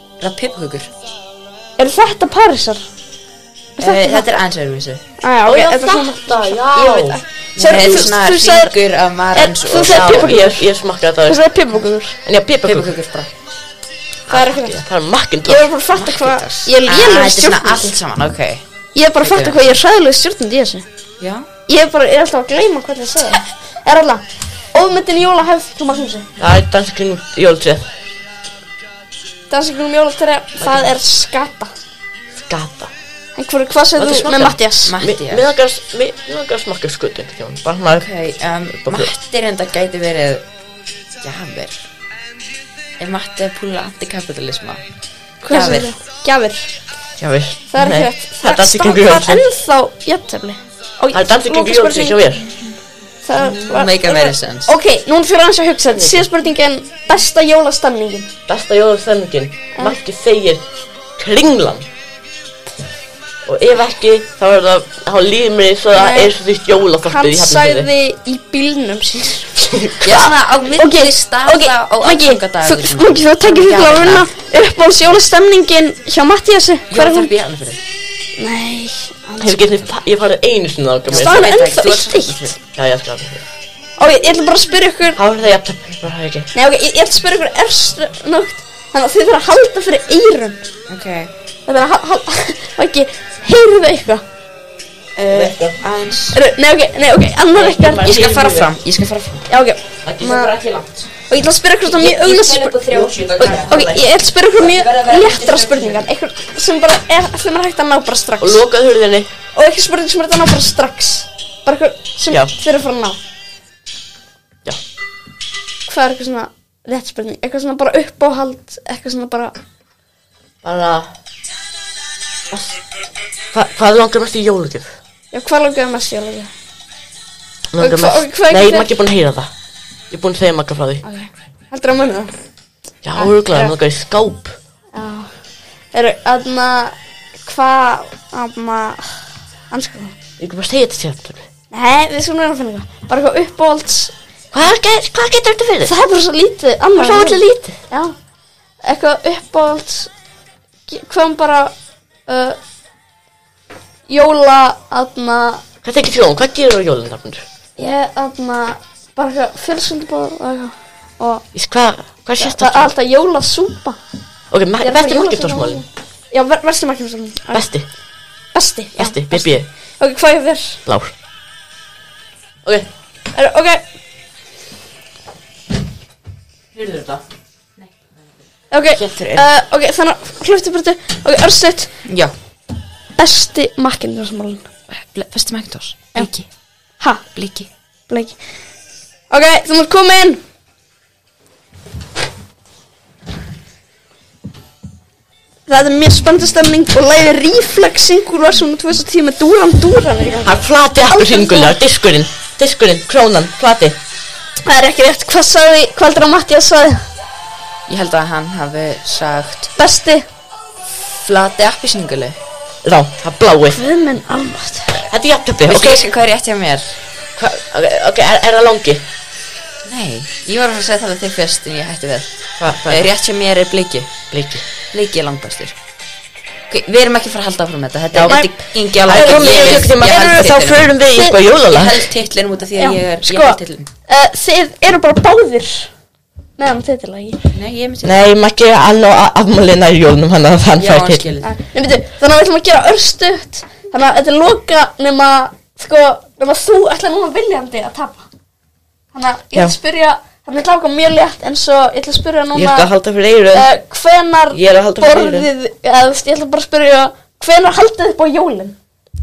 A: um, það pipkukur?
B: Eru þetta Parísar?
A: Eh, Þetta er aðeins öðrum þessu
B: Æja, Ah, ok,
C: já,
B: þetta er svona
C: þetta, já
B: Ég veit ekki
A: Þetta er svona
B: þú sagðir-
A: ringur af marans
B: En þú
A: og
B: sagðir-
C: Já,
B: piparkökur.
C: ég, ég smakka þetta
B: Þú
C: aðeins.
B: sagði pipakökur
C: En já, pipakökur
A: pippakökur bara
B: Það er ekki hægt
C: Það er
B: Ég
C: makkindar
B: er bara að fatta hvað
C: Marketing.
B: Ég er
A: Ah,
B: lélegur
A: Þetta er svona
B: stjórnandi
A: allt saman, ok
B: Ég er bara að fatta hvað ég er sæðileg stjórnandi í þessu
A: Já,
B: Ég er bara, er alltaf að gleyma hvernig ég sagði það Er alltaf Ómyndin jóla hefð hjá Magnúsi
C: Það er dansa kring jóltrið
B: Dansingunum jólatræ um Það er skata
C: Skata
B: En hver, hvað
C: Láttu
B: segir þú
C: smakka.
B: með Mattias?
C: Mér
A: Matti
C: mér langar að s- mér- mér langar að smakka skutu Bara svona
A: Ok, um, Matti reynda gæti verið Gjafir Ef Matti er púla antikapitalisma
B: Hvað segir
A: Gjafir.
B: þú? Gjafir
C: Já, við
B: Það er
C: Nei,
B: ekki rétt
C: Það er dansa kring
B: staðar- Það er
C: jóltrið
B: ennþá jafntefni Á-
C: Það er um dansa kring
B: lokaspurning-
C: jóltrið hjá mér
B: Það var-
A: Make a very sense.
B: Ok, núna fyrir aðeins að hugsa þetta Síðan spurningin Besta jólastemningin
C: Besta jólastemningin
B: Eh?
C: Maggi segir Kringlan Og ef ekki Þá er það Þá líður mér eins og það
B: Nei.
C: er svo því jólaþorpið
B: Eh, Hann
C: í
B: sagði
C: Hafnarfirði.
B: í bílnum sín
A: Já, svona á milli staða á aðfangadagurinn.
B: Maggi, þú tekir því að vinna Uppbóls jólastemningin hjá Mattiasi Hver er hún?
A: Jólaþorp í Hafnarfirði.
B: Nei
C: Hefur getið þið- Ég farið einu sinni þá
B: Staðan
A: Ég
B: er
A: veit það ekki, þú
B: ennþá
A: ert
B: eitt
A: Hafnarfirði.
B: eitt
C: Já, ég skal
B: Ó, ég ég ætla bara að spyrja ykkur
C: Þá er það jafn Bara hafa ekki
B: Nei, ok, ég ég ætla að spyrja ykkur erstu nótt Þannig að þið þurfa að halda fyrir eyrun
A: Ok
B: Það er að hal- hal- Maggi, heyrðu þau eitthvað Eh,
A: uh, Aðeins
B: Eru- Nei, ok, nei, ok, annar eitthvað
A: Ég skal fara fram Ég skal fara fram
B: Já, ok
C: Maggi sem bara ekki langt
B: Og ég ætla að spyrja ykkur svona mjög auglast Ok, ég ætla að spyrja ykkur mjög léttra spurningar Ykkur sem bara er allir maður hægt að ná bara strax
C: Og lokað hurðinni
B: Og ykkur spurning sem er hægt að ná bara strax Bara ykkur sem
C: Já.
B: þeir eru að fara að ná
C: Já
B: Hvað er ykkur svona létt spurning? Eitthvað svona bara uppáhald Eitthvað svona bara
C: Bara Hva, Hvað langar mest í jólugjöf?
B: Já, hvað langaði mest ég alveg
C: Langar
B: Og hva- og
C: mest
B: hvað
C: Nei,
B: getur-
C: Maggi er búin að heyra það Ég er búin að segja Magga frá því
B: Ok, heldur að munna það? Ah,
C: Já, örgulega,
B: Já.
C: hann langar í skáp
B: Já Eru, aðna, hvað, aðna, anskoðum
C: Ég er bara að segja þetta sjálf
B: Nei, við skulum vera að finna eitthvað Bara eitthvað uppáhalds
C: Hvað, ge- hvað getur þetta fyrir?
B: Það er bara svo lítið
C: Það
B: annað
C: er svo allir lítið
B: Já Eitthvað uppáhalds ge- Hvað um bara uh, Jóla Aðna
C: Hvað tekir þjóðum? Hvað gerur á jólinn rafnir?
B: Ég aðna Bara eitthvað fjölskyldubóð og eitthvað Og
C: Hvað, hvað sést
B: það
C: það?
B: er alltaf jólasúpa
C: Ok, ma-
B: Ég er bara
C: besti
B: jólasúpa.
C: markiptórsmálin
B: Já, ver- versti markimsmálin
C: Besti,
B: Besti já,
C: besti, BB,
B: Ok, hvað er þér?
C: blár Ok,
B: Er, ok,
C: hyrður þetta
B: ok
A: Getur er.
B: uh, Ok, þannig að hlöftu burtu Ok, örstuðt
A: Já
B: Besti markimsmálin
A: Festi Macintosh
B: Bliki. Ha?
A: Bliki
B: Bleiki Ok, þú mátt koma inn Það er mjög spennandi stemning og læði Reflexing úr versum 2010 með Duran Duran er í gangi.
C: Hann flati aftur hringulega, diskurinn, diskurinn, krónan, flati
B: Það er ekki rétt, hvað sagði, hvað heldur að Mattias sagði?
A: Ég held að hann hafi sagt
B: Besti
A: Flati appisninguli
C: Rá, það blái
B: Guðminn almátt
C: Þetta er jafntöpi,
A: Veistu
C: ok
A: kannski hvað er rétt hjá mér?
C: hva- Ok, ok, er, er það langi?
A: Nei Ég var að fara að segja það við þig fyrst en ég hætti við
C: Hvað, hvað
A: Eh,
C: er
A: Rétt hjá mér er bliki
C: bliki?
A: Bliki er langbæstur Ok, við erum ekki að fara að halda áfram með þetta Þetta
C: Já.
A: er þetta gengi alveg
C: Ég- ég- ég- ég- ég- Þá förum við í sko
A: Ég
C: jólalag
A: held titlinn út af því að ég er Ég
B: sko,
A: held titlinn
B: uh, þið eru bara báðir Nei, hann þetta lagi
A: Nei, ég er með titlinn
C: Nei, Maggi, hann á afmáli nær jólnum, hann að hann
A: Já,
C: fær
A: hann
C: til
A: skilur
B: Nei, veitu, þannig að við ætlum að gera örstuðt Þannig að þetta er loka nema, sko, nema þú ætla núna viljandi að tapa Þannig að ég ætla að
C: Já.
B: spyrja, þannig að ég ætla að hafa mjög létt En svo ég ætla að spyrja
C: Ég skal
B: núna
C: halda fyrir eyru
B: uh, Hvenar
C: Ég er að halda fyrir eyrun.
B: borðið, eða þú veist, ég ætla bara að spyrja Hvenar haldið þið upp á jólin?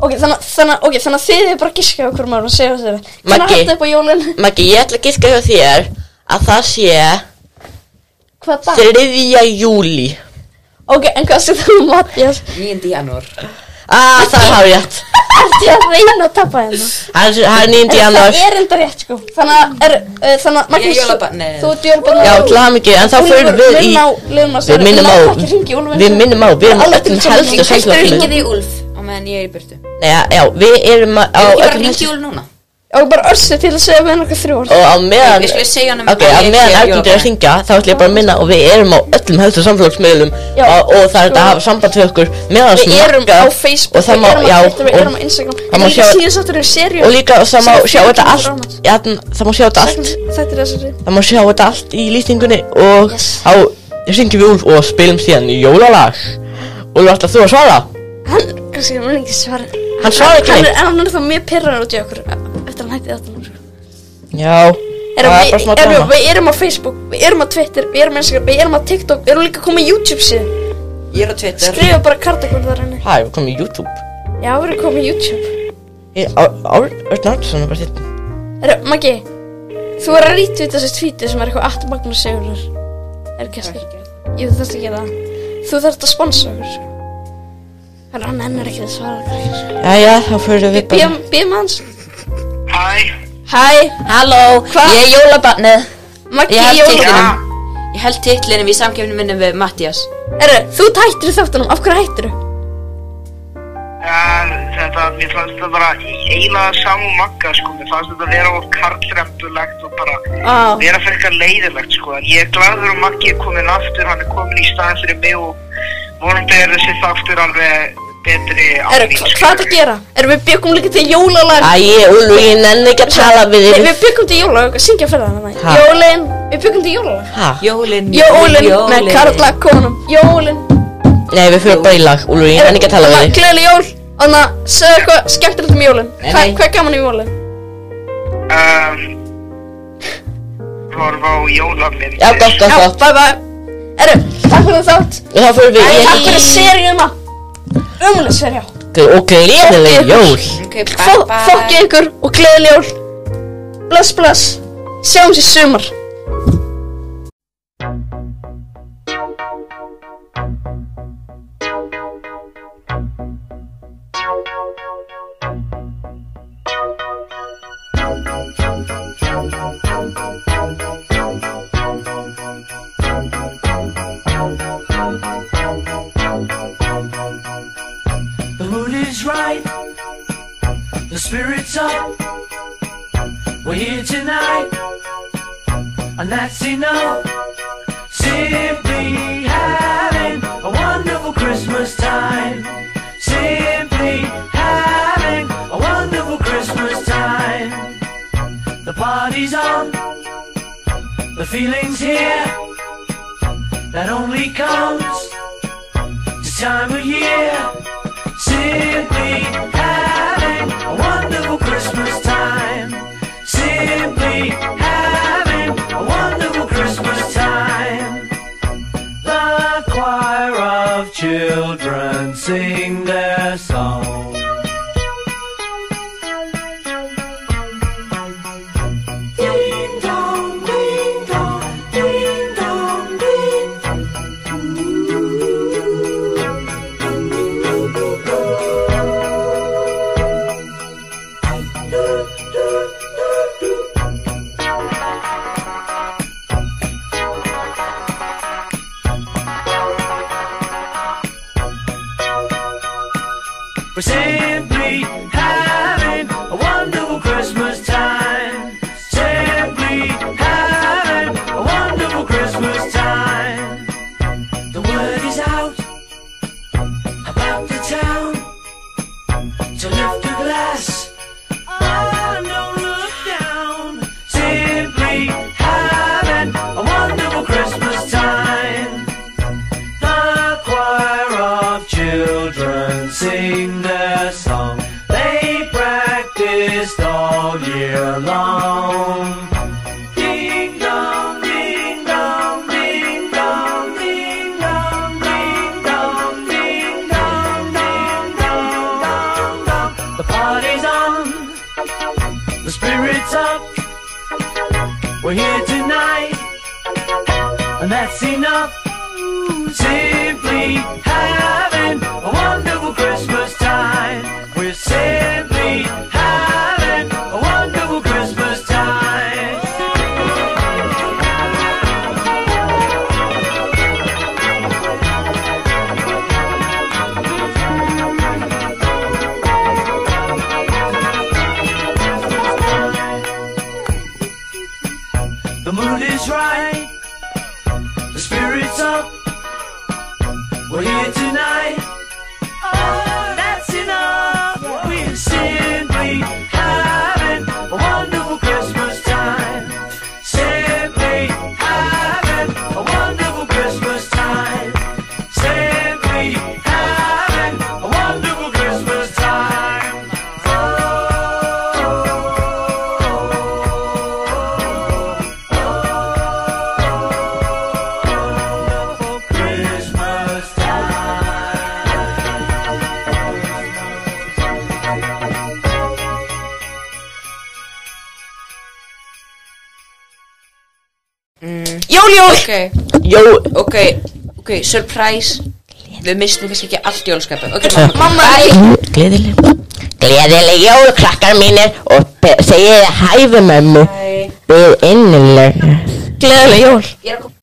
B: Ok, þannig, að- þannig, að- ok, þannig að þið er bara að giska á hverju maður og segja þessu Hvenar
C: Maggi.
B: haldið þið upp á jólin?
C: Maggi, ég ætla að giska hjá þér að það sé
B: Hvað dag?
C: 3. júli
B: Ok, en hvað sem þú Mattias?
A: 9. janúar
C: Ah, það er hár rétt
B: Ertu ég að reyna að tapa hérna?
C: Það er- það er 9.
B: En
C: januar
B: Það er enda rétt sko Þannig að, er, uh, þannig að
A: Ég er jólabarn, nei.
B: Þú ert jólabann
C: Já, til hafa mikið, en þá förum við í Við minnum á, við minnum á, við erum öllum helstu
A: Hættu að ringja
C: samfélagsmiðlum
A: þig Úlf á meðan ég er í burtu
C: Nei, já, já, við erum á
A: Ég er
C: öllum
A: bara að ringja
C: helstu
A: Úlf núna
B: Ok, og bara össu til að segja við hann okkar þrjú orð
C: Og á meðan
A: Við skulum segja honum
C: Ok,
A: að
C: á
A: ég
C: meðan
A: geri
C: ergendur er að
A: jólabragð.
C: syngja Þá ætlum ég bara að minna Og við erum á öllum helstu samfélagsmiðlum
B: Já.
C: og, og það er þetta að hafa samband við okkur Meðan
B: Við erum á Facebook,
C: og það má-
B: við erum
C: já,
B: á Twitter, við
C: og-
B: erum á Instagram
C: það má
B: Líka
C: sjá-
B: síðan sáttur er serið
C: Og líka og það má
B: Sem
C: sjá
B: er
C: þetta
B: fyrir
C: allt
B: ofan.
C: Já, það má sjá þetta allt
B: Þetta er þessari
C: Það má sjá þetta allt í lýsningunni og
B: Yes.
C: á syngjum við úr og spilum síðan jólalag og þú ætlar þú að svara
B: Hann, kannski, hann er ekki svarað
C: Hann svarar ekki
B: Hann
C: neitt
B: er, hann er þá mjög pirrar út í okkur Eftir hann hætti sko. þetta nú
C: Já, það er bara smá
B: Erum við,
C: drama
B: við erum á Facebook, við erum á Twitter, við erum á Instagram, við erum á TikTok Við erum líka komið YouTube síðan
A: Ég er á Twitter
B: Skrifa bara kartakvöld þar henni
C: Hæ, við komum í YouTube
B: Já, við erum komið YouTube
C: Ég- Ár- Ár- Örn Arnarsson er bara þetta
B: Herru, Maggi Þú er að rítið þessi tweetið sem er eitthvað 8 Magnús Sigurður Er ekki að skilja Jú, þú þarfst að gera það Þú þarfst að sponsa okkur Herru, hann ennur ekki að svara okkur
C: Jæja, þá fyrir við bara
B: Býðum, býðum hans
E: Hæ,
B: Hæ,
A: Halló,
B: Hva?
A: ég er jólabarnið
B: Maggi
A: Ég held
B: Jóla
A: titlinum Ég held titlinum í samkefni minnum við Mattias
B: Herru, þú tættir þáttunum, af hverju hættir þú?
E: en þetta, mér fannst þetta bara í eiginlega saman magga, sko, mér fannst þetta vera of karlrempulegt og bara
B: Á.
C: Ah.
E: vera fyrir eitthvað leiðilegt, sko, en ég er gladur að Maggi er komin aftur, hann er komin í staðin fyrir mig og vonandi er þessi þáttur alveg betri á
B: Herru,
E: mín,
B: hva,
E: sko.
B: hvað er að gera? Herru, við byggum líka til jólalag
C: Æ, Úlfur, ég nenni ekki að tala við
B: Nei,
C: þig
B: við byggum til jólalag, syngja fyrir það
C: Ha?
B: þannig Jólin, við byggum til jólalag
C: Hæ,
A: Jólin,
B: Jólin, með Karla konum Jólin,
C: nei, við fyrir bara í lag Úlfur, ég nenni ekki að tala við þig
B: Gleðileg jól, þannig að segja eitthvað skemmtilegt um jólin
A: Nei,
B: Hva,
A: nei.
B: Hvað er gaman í jólin?
E: Um, horfa á jólamyndir.
C: Já, gott,
B: Já,
C: gott, gott
B: bye bye Herru, takk fyrir þátt
C: Og þá fyrir við
B: Takk
C: í
B: fyrir seríuna Ömuleg seríu
C: og gleðileg jól
A: Ok, bye
B: Fokk
A: bye
B: ykkur og gleðileg jól Bless, bless Sjáumst í sumar
F: The mood is right. The spirit's up. We're here tonight. And that's enough. Simply having a wonderful Christmas time. Simply having a wonderful Christmas time. The party's on. The feeling's here. That only comes this time of year. Simply having a wonderful Christmas time. Simply having a wonderful Christmas time. The choir of children sing their song. Ding dong, ding dong, ding dong, ding We're simply having a wonderful Christmas time. Simply having a wonderful Christmas time. The word is out about the town to lift a glass. and don't look down. Simply having a wonderful Christmas time. The choir of children sing their song. They practiced all year long. Ding dong, ding dong, ding dong, ding dong, ding dong, ding dong, ding dong, dong, dong. The party's on, the spirit's up. We're here tonight, and that's enough. Simply having a wonderful Christmas time. We're simply having a wonderful Christmas time. The mood is right. The spirit's up. We're here tonight. Oh, that's enough. We're simply having a wonderful Christmas time. Simply having a wonderful Christmas time. Simply having a wonderful Christmas time. Christmas time.
A: Jól, jól Ok, jól Ok, ok, surprise Við mistum kannski ekki allt jólaskapið Ok, mamma, mamma Bye
C: Gleðileg Gleðileg jól krakkar mínir og pe- segið hæfi mömmu Við innilega Gleðileg jól
A: Ég er að koma